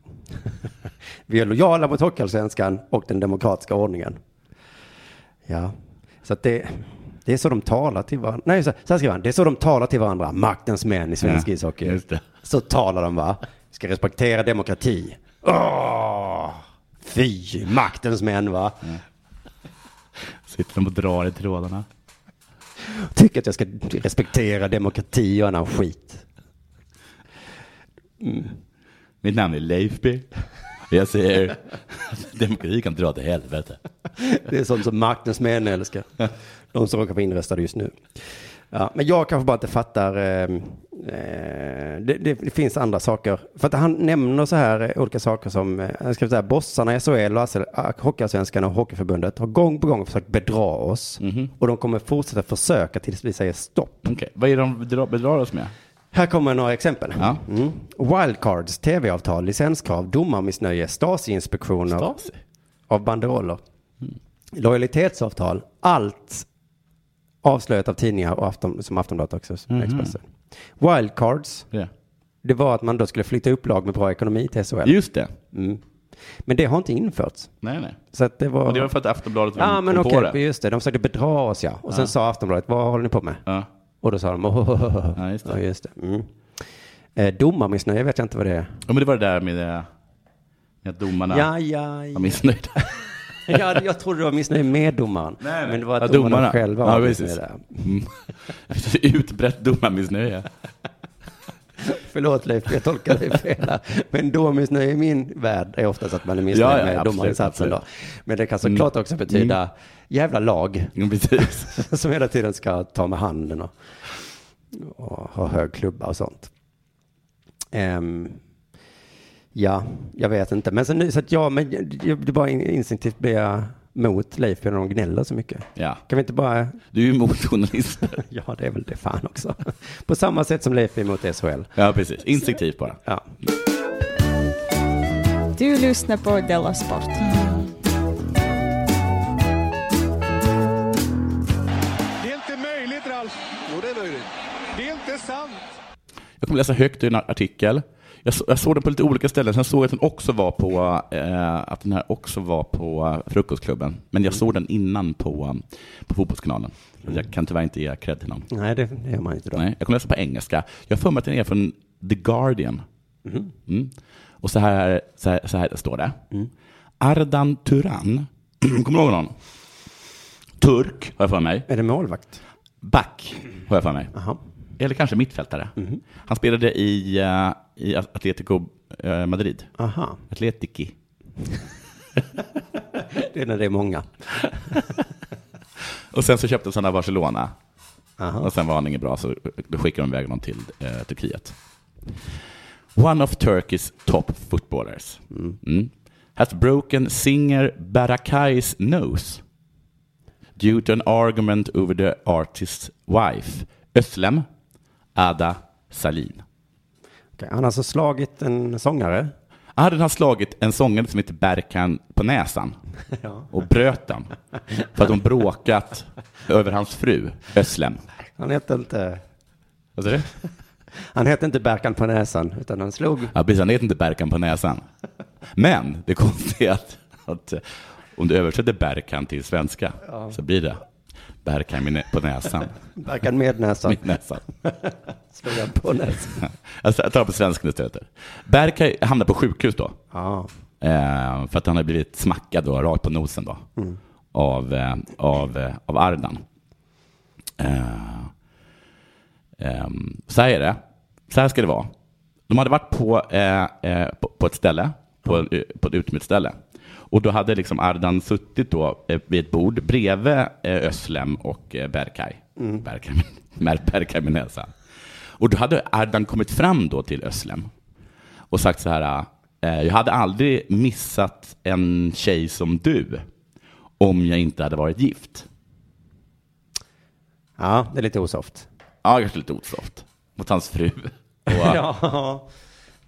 [SPEAKER 3] Vi är lojala mot Hockeyallsvenskan och den demokratiska ordningen. Ja, så att det, det är så de talar till varandra. Nej, så, så här skriver han. Det är så de talar till varandra, maktens män i svensk
[SPEAKER 2] Ja,
[SPEAKER 3] ishockey.
[SPEAKER 2] just det.
[SPEAKER 3] Så talar de va? Ska respektera demokrati. Åh, fy, maktens män va?
[SPEAKER 2] Sitter de och drar i trådarna.
[SPEAKER 3] Tycker att jag ska respektera demokrati och annan skit.
[SPEAKER 2] Mitt namn är Leifby. Jag säger, demokrati kan dra till helvete.
[SPEAKER 3] Det är sånt som maktens män älskar. De som råkar vara inröstade just nu. Ja, men jag kanske bara inte fattar. Eh, eh, det, det, det finns andra saker. För att han nämner så här eh, olika saker som, eh, han skriver så här, bossarna i SHL och Assel- ah, Hockeyallsvenskan och Hockeyförbundet har gång på gång försökt bedra oss. Och de kommer fortsätta försöka tills vi säger stopp.
[SPEAKER 2] Okej, vad är det de dra- bedrar oss med?
[SPEAKER 3] Här kommer några exempel.
[SPEAKER 2] Ja.
[SPEAKER 3] Mm. Wildcards, tv-avtal, licenskrav, domarmissnöje, Stasi-inspektioner
[SPEAKER 2] Stasi?
[SPEAKER 3] av banderoller. Lojalitetsavtal, allt avslöjat av tidningar och afton, som Aftonbladet också, som
[SPEAKER 2] Mhm.
[SPEAKER 3] Expressen. Wildcards,
[SPEAKER 2] Ja.
[SPEAKER 3] det var att man då skulle flytta upp lag med bra ekonomi till SHL.
[SPEAKER 2] Just det.
[SPEAKER 3] Men det har inte införts.
[SPEAKER 2] Nej, nej.
[SPEAKER 3] Så att det var...
[SPEAKER 2] Och det var för att Aftonbladet var
[SPEAKER 3] ja, men
[SPEAKER 2] på
[SPEAKER 3] okej,
[SPEAKER 2] det.
[SPEAKER 3] just det. De försökte bedra oss, ja. Och sen sa Aftonbladet, vad håller ni på med?
[SPEAKER 2] Ja.
[SPEAKER 3] Och då sa de, oh,
[SPEAKER 2] Ja, just det.
[SPEAKER 3] Ja, just det. Mm. Eh, domarmissnöje vet jag inte vad det är.
[SPEAKER 2] ja, men det var det där med, eh, med att domarna
[SPEAKER 3] Ja, ja, ja.
[SPEAKER 2] var missnöjda.
[SPEAKER 3] ja jag trodde det var missnöje med domaren.
[SPEAKER 2] Nej, nej.
[SPEAKER 3] Men det var att
[SPEAKER 2] Ja,
[SPEAKER 3] domarna,
[SPEAKER 2] domarna.
[SPEAKER 3] själva
[SPEAKER 2] Ja,
[SPEAKER 3] var
[SPEAKER 2] precis.
[SPEAKER 3] missnöjda.
[SPEAKER 2] Mm. Utbrett domarmissnöje.
[SPEAKER 3] Förlåt Leif, jag tolkar dig fel. här. Men domarmissnöje i min värld är oftast att man är missnöjd
[SPEAKER 2] Ja, ja,
[SPEAKER 3] med
[SPEAKER 2] absolut,
[SPEAKER 3] domarinsatsen. Då.
[SPEAKER 2] absolut. Mm.
[SPEAKER 3] Men det kan såklart också betyda jävla lag
[SPEAKER 2] Ja, Precis.
[SPEAKER 3] som hela tiden ska ta med handen och, och ha hög klubba och sånt. Ehm, ja, jag vet inte. Men, så nu, så att jag, men jag, jag, det bara instinktivt blir jag mot Leif när de gnäller så mycket.
[SPEAKER 2] Ja.
[SPEAKER 3] Kan vi inte bara
[SPEAKER 2] Du är ju emot journalister.
[SPEAKER 3] Ja, det är väl det fan också. På samma sätt som Leif är emot SHL.
[SPEAKER 2] Ja, precis. Instinktivt bara.
[SPEAKER 3] Ja.
[SPEAKER 6] Du lyssnar på Della Sport.
[SPEAKER 1] Det är inte möjligt, Ralf. Jo, det är möjligt. Det är inte sant.
[SPEAKER 2] Jag kommer läsa högt ur en artikel. Jag, så, jag såg den på lite olika ställen, sen såg jag att den också var på, eh, att den här också var på eh, Frukostklubben. Men jag såg den innan på, um, på Fotbollskanalen. Så Jag kan tyvärr inte ge cred till någon.
[SPEAKER 3] Nej, det, det gör man inte då.
[SPEAKER 2] Nej, jag kommer läsa på engelska. Jag har för mig att den är från The Guardian. Mm. Och så här, så här, så här står det. Ardan Turan, kommer du ihåg honom? Turk, har jag för mig.
[SPEAKER 3] Är det målvakt?
[SPEAKER 2] Back, har jag för mig.
[SPEAKER 3] Aha.
[SPEAKER 2] Eller kanske mittfältare. Han spelade i, eh, i Atletico eh, Madrid.
[SPEAKER 3] Aha.
[SPEAKER 2] Atletici.
[SPEAKER 3] Det är när det är många.
[SPEAKER 2] Och sen så köptes han av Barcelona.
[SPEAKER 3] Aha.
[SPEAKER 2] Och sen var han ingen bra, så då skickade de iväg honom till eh, Turkiet. One of Turkey's top footballers. Mm. Has broken singer Barakai's nose. Due to an argument over the artist's wife. Özlem Ada Salin.
[SPEAKER 3] Okej, han har alltså slagit en sångare.
[SPEAKER 2] Hade han slagit en sångare som heter Berkan på näsan och bröt den för att hon bråkat över hans fru Özlem.
[SPEAKER 3] Han hette inte,
[SPEAKER 2] Vad sa du?
[SPEAKER 3] han hette inte Berkan på näsan, utan han slog.
[SPEAKER 2] Ja, precis, han heter inte Berkan på näsan. Men det konstiga är att, att eh, om du översätter Berkan till svenska så blir det Berkan med nä- på näsan.
[SPEAKER 3] Berkan med näsan.
[SPEAKER 2] Mitt näsan.
[SPEAKER 3] Slog han på näsan.
[SPEAKER 2] Jag tar det på svenska nu istället. Berkan hamnar på sjukhus då.
[SPEAKER 3] Ja.
[SPEAKER 2] Eh, för att han har blivit smackad då, rakt på nosen då, av, eh, av, eh, av Ardan. Eh, ehm, så här är det. Så här ska det vara. De hade varit på, eh, eh, på, på ett ställe, på, en, eh, på ett utomhusställe. Och då hade liksom Ardan suttit då eh, vid ett bord bredvid eh, Özlem och eh, Berkay. Berkay, med- Berkay med näsan. Och då hade Ardan kommit fram då till Özlem och sagt så här, eh, jag hade aldrig missat en tjej som du om jag inte hade varit gift.
[SPEAKER 3] ja, det är lite osoft.
[SPEAKER 2] Ja, kanske lite osoft. Mot hans fru. Och,
[SPEAKER 3] Ja.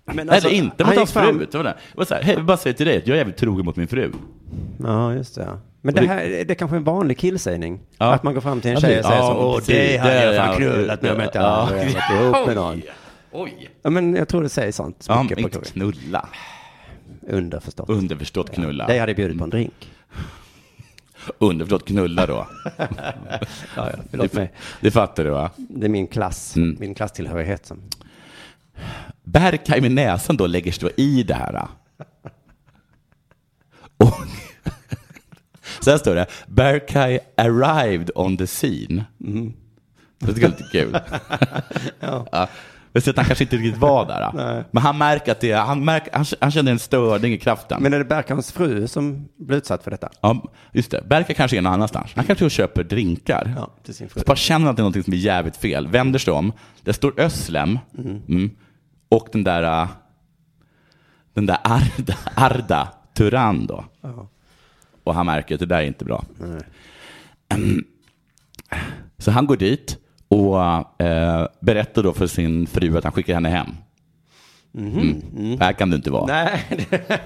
[SPEAKER 3] Men alltså,
[SPEAKER 2] Eller inte mot
[SPEAKER 3] han
[SPEAKER 2] hans
[SPEAKER 3] gick fram-
[SPEAKER 2] fru. Det var, det. Det var så här, hej, jag vill bara säga till dig att jag är jävligt trogen mot min fru.
[SPEAKER 3] Ja, just det. ja. Men det
[SPEAKER 2] det-
[SPEAKER 3] här det är kanske är en vanlig killsägning.
[SPEAKER 2] Ja.
[SPEAKER 3] Att man går fram till en
[SPEAKER 2] Ja,
[SPEAKER 3] tjej och
[SPEAKER 2] precis.
[SPEAKER 3] säger
[SPEAKER 2] Ja,
[SPEAKER 3] så.
[SPEAKER 2] och
[SPEAKER 3] Åh,
[SPEAKER 2] det-
[SPEAKER 3] det hade jag
[SPEAKER 2] det-
[SPEAKER 3] fan
[SPEAKER 2] ja,
[SPEAKER 3] knullat med om
[SPEAKER 2] ja,
[SPEAKER 3] jag inte
[SPEAKER 2] ja.
[SPEAKER 3] hade varit ihop med någon.
[SPEAKER 2] Oj!
[SPEAKER 3] Ja, men jag tror det sägs sånt.
[SPEAKER 2] Ja,
[SPEAKER 3] mycket
[SPEAKER 2] men
[SPEAKER 3] på
[SPEAKER 2] inte
[SPEAKER 3] krogen.
[SPEAKER 2] knulla.
[SPEAKER 3] Underförstått.
[SPEAKER 2] Underförstått knulla.
[SPEAKER 3] Det hade jag
[SPEAKER 2] Mm.
[SPEAKER 3] bjudit på en drink.
[SPEAKER 2] Underförstått knulla då.
[SPEAKER 3] Förlåt
[SPEAKER 2] Det-
[SPEAKER 3] mig.
[SPEAKER 2] Det fattar du va?
[SPEAKER 3] Det är min klass,
[SPEAKER 2] Mm.
[SPEAKER 3] min klasstillhörighet som...
[SPEAKER 2] Berkay med näsan då lägger sig då i det här. Och så här står det. Berkay arrived on the scene.
[SPEAKER 3] Mm.
[SPEAKER 2] Det tycker jag är lite kul. ja. Jag ser att han kanske inte riktigt var där. Men han märker att det, han, märker, han, han känner en störning i kraften.
[SPEAKER 3] Men är det Berkans fru som blir utsatt för detta?
[SPEAKER 2] ja, just det. Berkay kanske är någon annanstans. Han kanske köper drinkar.
[SPEAKER 3] Ja, till sin fru.
[SPEAKER 2] Så bara känner att det är någonting som är jävligt fel. Vänder sig om. Där står Öslem. Mm. Och den där, äh, den där Arda, Arda Turan då. Och han märker att det där är inte bra. Så han går dit och eh, berättar då för sin fru att han skickar henne hem. Mm. Här kan du inte vara.
[SPEAKER 3] Nej. det-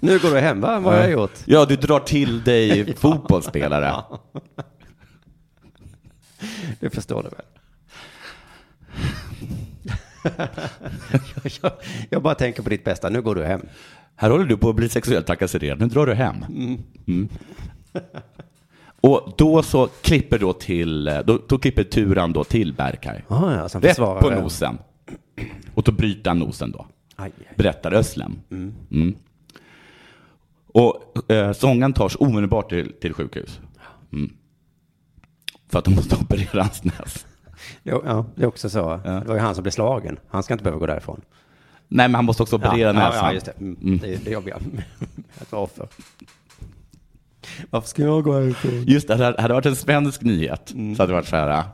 [SPEAKER 3] nu går du hem, va? Vad har jag gjort?
[SPEAKER 2] Ja, du drar till dig fotbollsspelare.
[SPEAKER 3] Det förstår du väl? jag, jag, jag bara tänker på ditt bästa. Nu går du hem.
[SPEAKER 2] Här håller du på att bli sexuellt trakasserad, nu drar du hem. Mm. Och då så klipper då till, eh, då, då klipper turan då till Berkay.
[SPEAKER 3] Ah, ja, som
[SPEAKER 2] Rätt
[SPEAKER 3] försvarare.
[SPEAKER 2] på nosen. Och då bryter han nosen då,
[SPEAKER 3] Aj,
[SPEAKER 2] berättar Özlem. Mm. Och eh, sångaren tas omedelbart till, till sjukhus. Mm. För att de måste operera hans näs.
[SPEAKER 3] Jo, ja, det är också så. Det var ju han som blev slagen. Han ska inte behöva gå därifrån.
[SPEAKER 2] Nej, men han måste också
[SPEAKER 3] Ja,
[SPEAKER 2] operera
[SPEAKER 3] ja,
[SPEAKER 2] näsan.
[SPEAKER 3] ja, just det. Mm. Det är det jobbiga med att vara offer. Varför ska jag gå härifrån?
[SPEAKER 2] Just det, hade det varit en svensk nyhet så hade det varit så här. äh,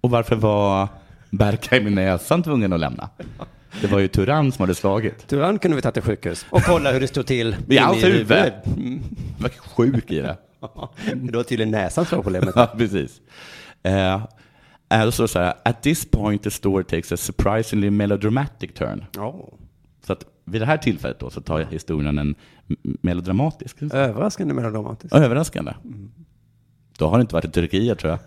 [SPEAKER 2] Och varför var Berka i min näsan tvungen att lämna? Det var ju Turan som hade slagit. alltså
[SPEAKER 3] Tyrann kunde vi ta till sjukhus och kolla hur det stod till.
[SPEAKER 2] I hans
[SPEAKER 3] inne
[SPEAKER 2] huvud. Jag Mm. var sjuk i det.
[SPEAKER 3] Det var tydligen näsan som var problemet.
[SPEAKER 2] Ja, precis. Eh, eh, då står det så här. At this point the story takes a surprisingly melodramatic turn.
[SPEAKER 3] Ja.
[SPEAKER 2] Så att vid det här tillfället då så tar historien en m- melodramatisk.
[SPEAKER 3] Överraskande melodramatiskt.
[SPEAKER 2] Överraskande. Då har det inte varit i Turkiet tror jag.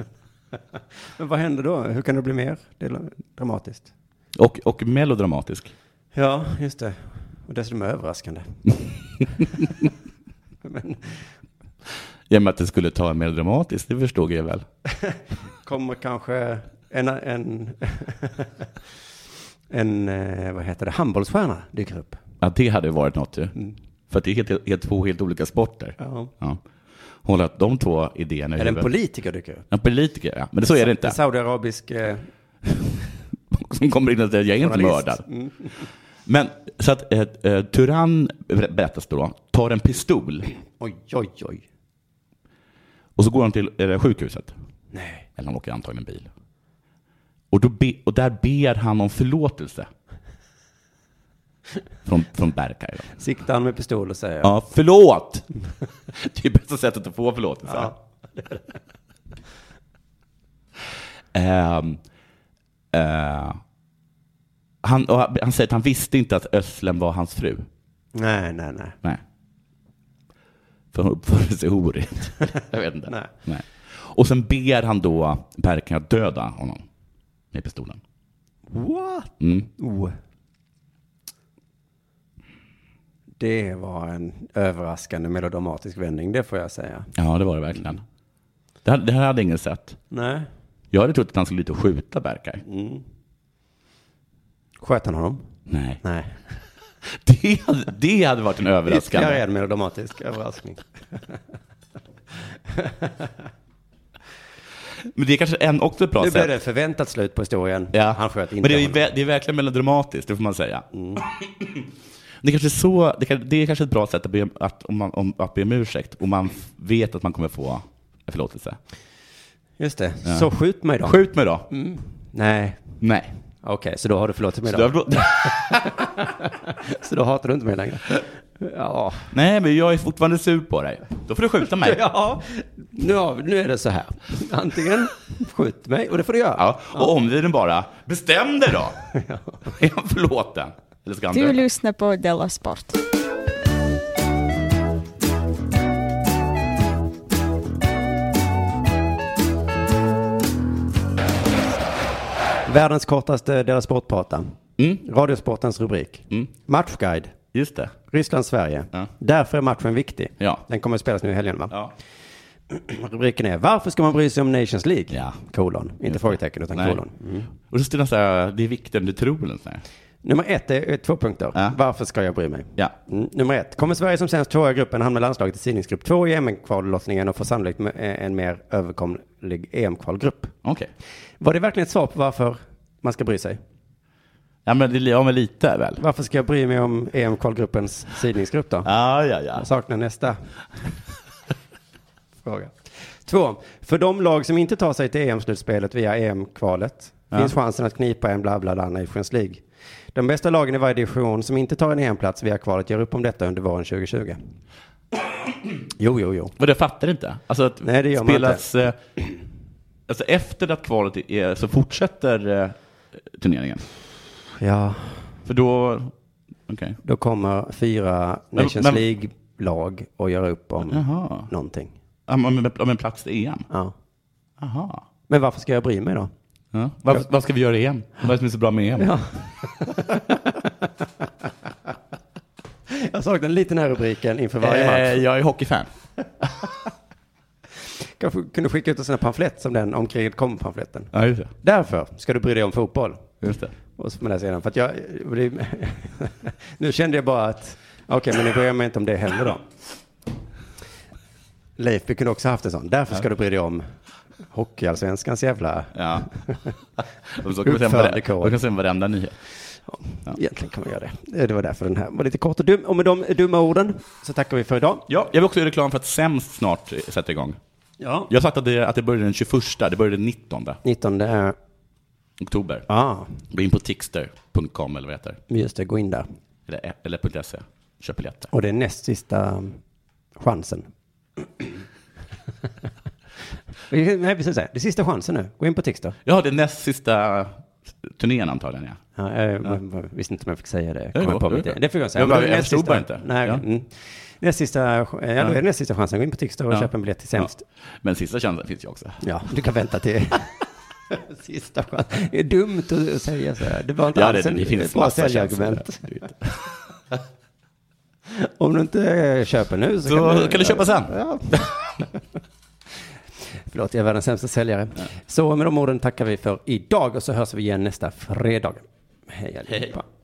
[SPEAKER 3] Men vad händer då? Hur kan det bli mer Det är dramatiskt?
[SPEAKER 2] Och, och melodramatisk.
[SPEAKER 3] Ja, just det. Och dessutom överraskande. Men
[SPEAKER 2] I och med att det skulle ta en melodramatisk, det förstod jag väl.
[SPEAKER 3] kommer kanske en, en, en eh, vad heter det, handbollsstjärna dyker upp.
[SPEAKER 2] Ja, det hade varit något ju. För att det är helt, helt, två helt olika sporter.
[SPEAKER 3] Mm. Ja.
[SPEAKER 2] Hålla att de två idéerna i
[SPEAKER 3] Eller en
[SPEAKER 2] huvudet.
[SPEAKER 3] politiker dyker upp.
[SPEAKER 2] en politiker, ja. Men så är det
[SPEAKER 3] En
[SPEAKER 2] inte.
[SPEAKER 3] saudiarabisk... Eh,
[SPEAKER 2] Som kommer in och säger, jag är inte
[SPEAKER 3] Journalist. Mm.
[SPEAKER 2] mördad. Men så att eh, eh, Turan, ber- berättas det då, tar en pistol
[SPEAKER 3] oj, oj, oj.
[SPEAKER 2] och så går han till eh, sjukhuset.
[SPEAKER 3] Nej.
[SPEAKER 2] Eller han åker antagligen bil. Och, då be, och där ber han om förlåtelse. Från, från Berkay då.
[SPEAKER 3] Siktar han med pistol och säger...
[SPEAKER 2] Ja, förlåt! Det är bästa sättet att få förlåtelse.
[SPEAKER 3] Ja.
[SPEAKER 2] Ehm, Eh, han, och han han säger att han visste inte att Öslen var hans fru.
[SPEAKER 3] Nej, nej, nej.
[SPEAKER 2] Nej. För hon uppförde sig orent. Jag vet inte.
[SPEAKER 3] Nej.
[SPEAKER 2] Och sen ber han då Berkan att döda honom med pistolen.
[SPEAKER 3] What?
[SPEAKER 2] Mm.
[SPEAKER 3] Oh. Det var en överraskande melodramatisk vändning, det får jag säga.
[SPEAKER 2] Ja, det var det verkligen. Det, här- det här hade ingen sett.
[SPEAKER 3] Nej.
[SPEAKER 2] Jag hade trott att han skulle ut och skjuta Berkay.
[SPEAKER 3] Sköt han honom?
[SPEAKER 2] Nej,
[SPEAKER 3] Nej.
[SPEAKER 2] det hade, det hade varit en
[SPEAKER 3] Ytterligare
[SPEAKER 2] överraskande.
[SPEAKER 3] en melodramatisk överraskning.
[SPEAKER 2] Men det är kanske en, också ett bra
[SPEAKER 3] Nu blev
[SPEAKER 2] sätt.
[SPEAKER 3] det förväntat slut på historien.
[SPEAKER 2] Ja.
[SPEAKER 3] Han sköt inte
[SPEAKER 2] Men det är, ju
[SPEAKER 3] honom. Mm.
[SPEAKER 2] vä- det är verkligen melodramatiskt, det får man säga. Det, är kanske är så, det, kan, det är kanske ett bra sätt att be, att, om man, om, att be om ursäkt, och man f- vet att man kommer få en förlåtelse.
[SPEAKER 3] Just det. Så skjut mig då.
[SPEAKER 2] Skjut mig då!
[SPEAKER 3] Nej.
[SPEAKER 2] Nej.
[SPEAKER 3] Okej, så då har Mm. du förlåtit mig
[SPEAKER 2] Så
[SPEAKER 3] då.
[SPEAKER 2] du har förlåt-
[SPEAKER 3] Så då hatar du inte mig längre. Ja.
[SPEAKER 2] Nej, men jag är fortfarande sur på dig. Då får du skjuta mig.
[SPEAKER 3] Ja, nu, har- nu är det så här. Antingen skjut mig, och det får du göra.
[SPEAKER 2] Ja, och omvärlden bara, bestäm dig då! Är han förlåten? Eller ska han
[SPEAKER 6] Du
[SPEAKER 2] dö?
[SPEAKER 6] lyssnar på Della Sport.
[SPEAKER 3] Världens kortaste Dela Sport-prata.
[SPEAKER 2] Mm.
[SPEAKER 3] Radiosportens rubrik. Matchguide.
[SPEAKER 2] Just det.
[SPEAKER 3] Ryssland-Sverige.
[SPEAKER 2] Ja.
[SPEAKER 3] Därför är matchen viktig.
[SPEAKER 2] Ja.
[SPEAKER 3] Den kommer att spelas nu i helgen va?
[SPEAKER 2] Ja.
[SPEAKER 3] Rubriken är Varför ska man bry sig om Nations League?
[SPEAKER 2] Ja.
[SPEAKER 3] Kolon. Inte frågetecken utan
[SPEAKER 2] Nej.
[SPEAKER 3] kolon. Mm.
[SPEAKER 2] Och så står det så här, det är viktigare än du tror. eller så här.
[SPEAKER 3] Nummer ett är är två punkter.
[SPEAKER 2] Ja.
[SPEAKER 3] Varför ska jag bry mig?
[SPEAKER 2] Ja.
[SPEAKER 3] Mm. Nummer ett. Kommer Sverige som sämst tvåa i gruppen hamna i landslaget i sidningsgrupp två i EM-kvallottningen och får sannolikt eh, en mer överkomlig EM-kvalgrupp?
[SPEAKER 2] Okej.
[SPEAKER 3] Var det verkligen ett svar på varför man ska bry sig?
[SPEAKER 2] Ja, men det ja, men lite väl?
[SPEAKER 3] Varför ska jag bry mig om EM-kvalgruppens sidningsgrupp då?
[SPEAKER 2] Ja, ja, ja.
[SPEAKER 3] Jag saknar nästa fråga. Två. För de lag som inte tar sig till EM-slutspelet via EM-kvalet
[SPEAKER 2] Ja.
[SPEAKER 3] finns chansen att knipa en bla bla bla Nations League. De bästa lagen i varje division som inte tar en EM-plats via kvalet gör upp om detta under våren 2020. Jo, jo, jo.
[SPEAKER 2] Men jag fattar inte. Alltså att
[SPEAKER 3] Nej, det gör man
[SPEAKER 2] spelas, eh, Alltså efter att kvalet är, så fortsätter eh, turneringen.
[SPEAKER 3] Ja,
[SPEAKER 2] För då, okej.
[SPEAKER 3] då kommer fyra
[SPEAKER 2] Men-
[SPEAKER 3] Nations
[SPEAKER 2] men-
[SPEAKER 3] League-lag och gör upp om
[SPEAKER 2] Jaha.
[SPEAKER 3] någonting.
[SPEAKER 2] Om, om, om en plats till EM?
[SPEAKER 3] Ja.
[SPEAKER 2] Jaha.
[SPEAKER 3] Men varför ska jag bry mig då?
[SPEAKER 2] Ja. Vad, vad ska vi göra i EM? Vad är det som är så bra med E EM?
[SPEAKER 3] Ja. jag saknar lite den här rubriken inför varje match.
[SPEAKER 2] Eh, jag är hockeyfan.
[SPEAKER 3] Kanske kunde skicka ut en sån här pamflett som den om kriget kom-pamfletten.
[SPEAKER 2] Ja, just det.
[SPEAKER 3] Därför ska du bry dig om fotboll.
[SPEAKER 2] Just det.
[SPEAKER 3] Och så med den sedan. För att jag, det- nu kände jag bara att, okej men nu bryr jag mig inte om det heller då. Leif, vi kunde också haft en sån. Därför ska du bry dig om hockeyallsvenskans jävla...
[SPEAKER 2] Ja. Och så kan vi säga varenda-
[SPEAKER 3] Uppförandekod.
[SPEAKER 2] och kan säga varenda nyhet.
[SPEAKER 3] Egentligen kan man göra det. Det var därför den här var lite kort och dum. Och med de dumma orden så tackar vi för idag.
[SPEAKER 2] Ja, jag vill också göra reklam för att Sämst snart eh, sätter igång.
[SPEAKER 3] Ja.
[SPEAKER 2] Jag har sagt att det, att det börjar den 21, det börjar den 19
[SPEAKER 3] 19. Ja,
[SPEAKER 2] oktober.
[SPEAKER 3] ah,
[SPEAKER 2] Gå in på tixter.com eller vad det heter.
[SPEAKER 3] just det. Gå in där.
[SPEAKER 2] Eller, eller .se. Köp biljetter.
[SPEAKER 3] Och det är näst sista chansen. Vi- Nej, vi säger så här. Det är sista chansen nu. Gå in på Tix då.
[SPEAKER 2] Ja, det är näst sista turnén antagligen, ja.
[SPEAKER 3] Ja, jag, jag visste inte om jag fick säga det.
[SPEAKER 2] Jo,
[SPEAKER 3] Kom jag på
[SPEAKER 2] jo,
[SPEAKER 3] mig det.
[SPEAKER 2] jo.
[SPEAKER 3] det får jag säga.
[SPEAKER 2] Jag
[SPEAKER 3] Men
[SPEAKER 2] bara-
[SPEAKER 3] det är
[SPEAKER 2] jag
[SPEAKER 3] näst
[SPEAKER 2] förstod
[SPEAKER 3] sista-
[SPEAKER 2] bara inte.
[SPEAKER 3] Nej,
[SPEAKER 2] Ja.
[SPEAKER 3] mm. Näst sista, ja, då är det näst sista chansen. Gå in på Tix då och
[SPEAKER 2] Ja.
[SPEAKER 3] köp en biljett till sämst. Ja.
[SPEAKER 2] Men sista chansen finns ju också.
[SPEAKER 3] du kan vänta till sista chansen. Det är dumt att säga så här. Det var inte
[SPEAKER 2] Ja,
[SPEAKER 3] alls
[SPEAKER 2] det-
[SPEAKER 3] en
[SPEAKER 2] det finns
[SPEAKER 3] bra
[SPEAKER 2] massa
[SPEAKER 3] säljargument.
[SPEAKER 2] chanser.
[SPEAKER 3] Om du inte eh, köper nu så,
[SPEAKER 2] Så kan du köpa sen.
[SPEAKER 3] Ja. Förlåt, jag är världens sämsta säljare. Så med de orden tackar vi för idag och så hörs vi igen nästa fredag. Hej allihopa.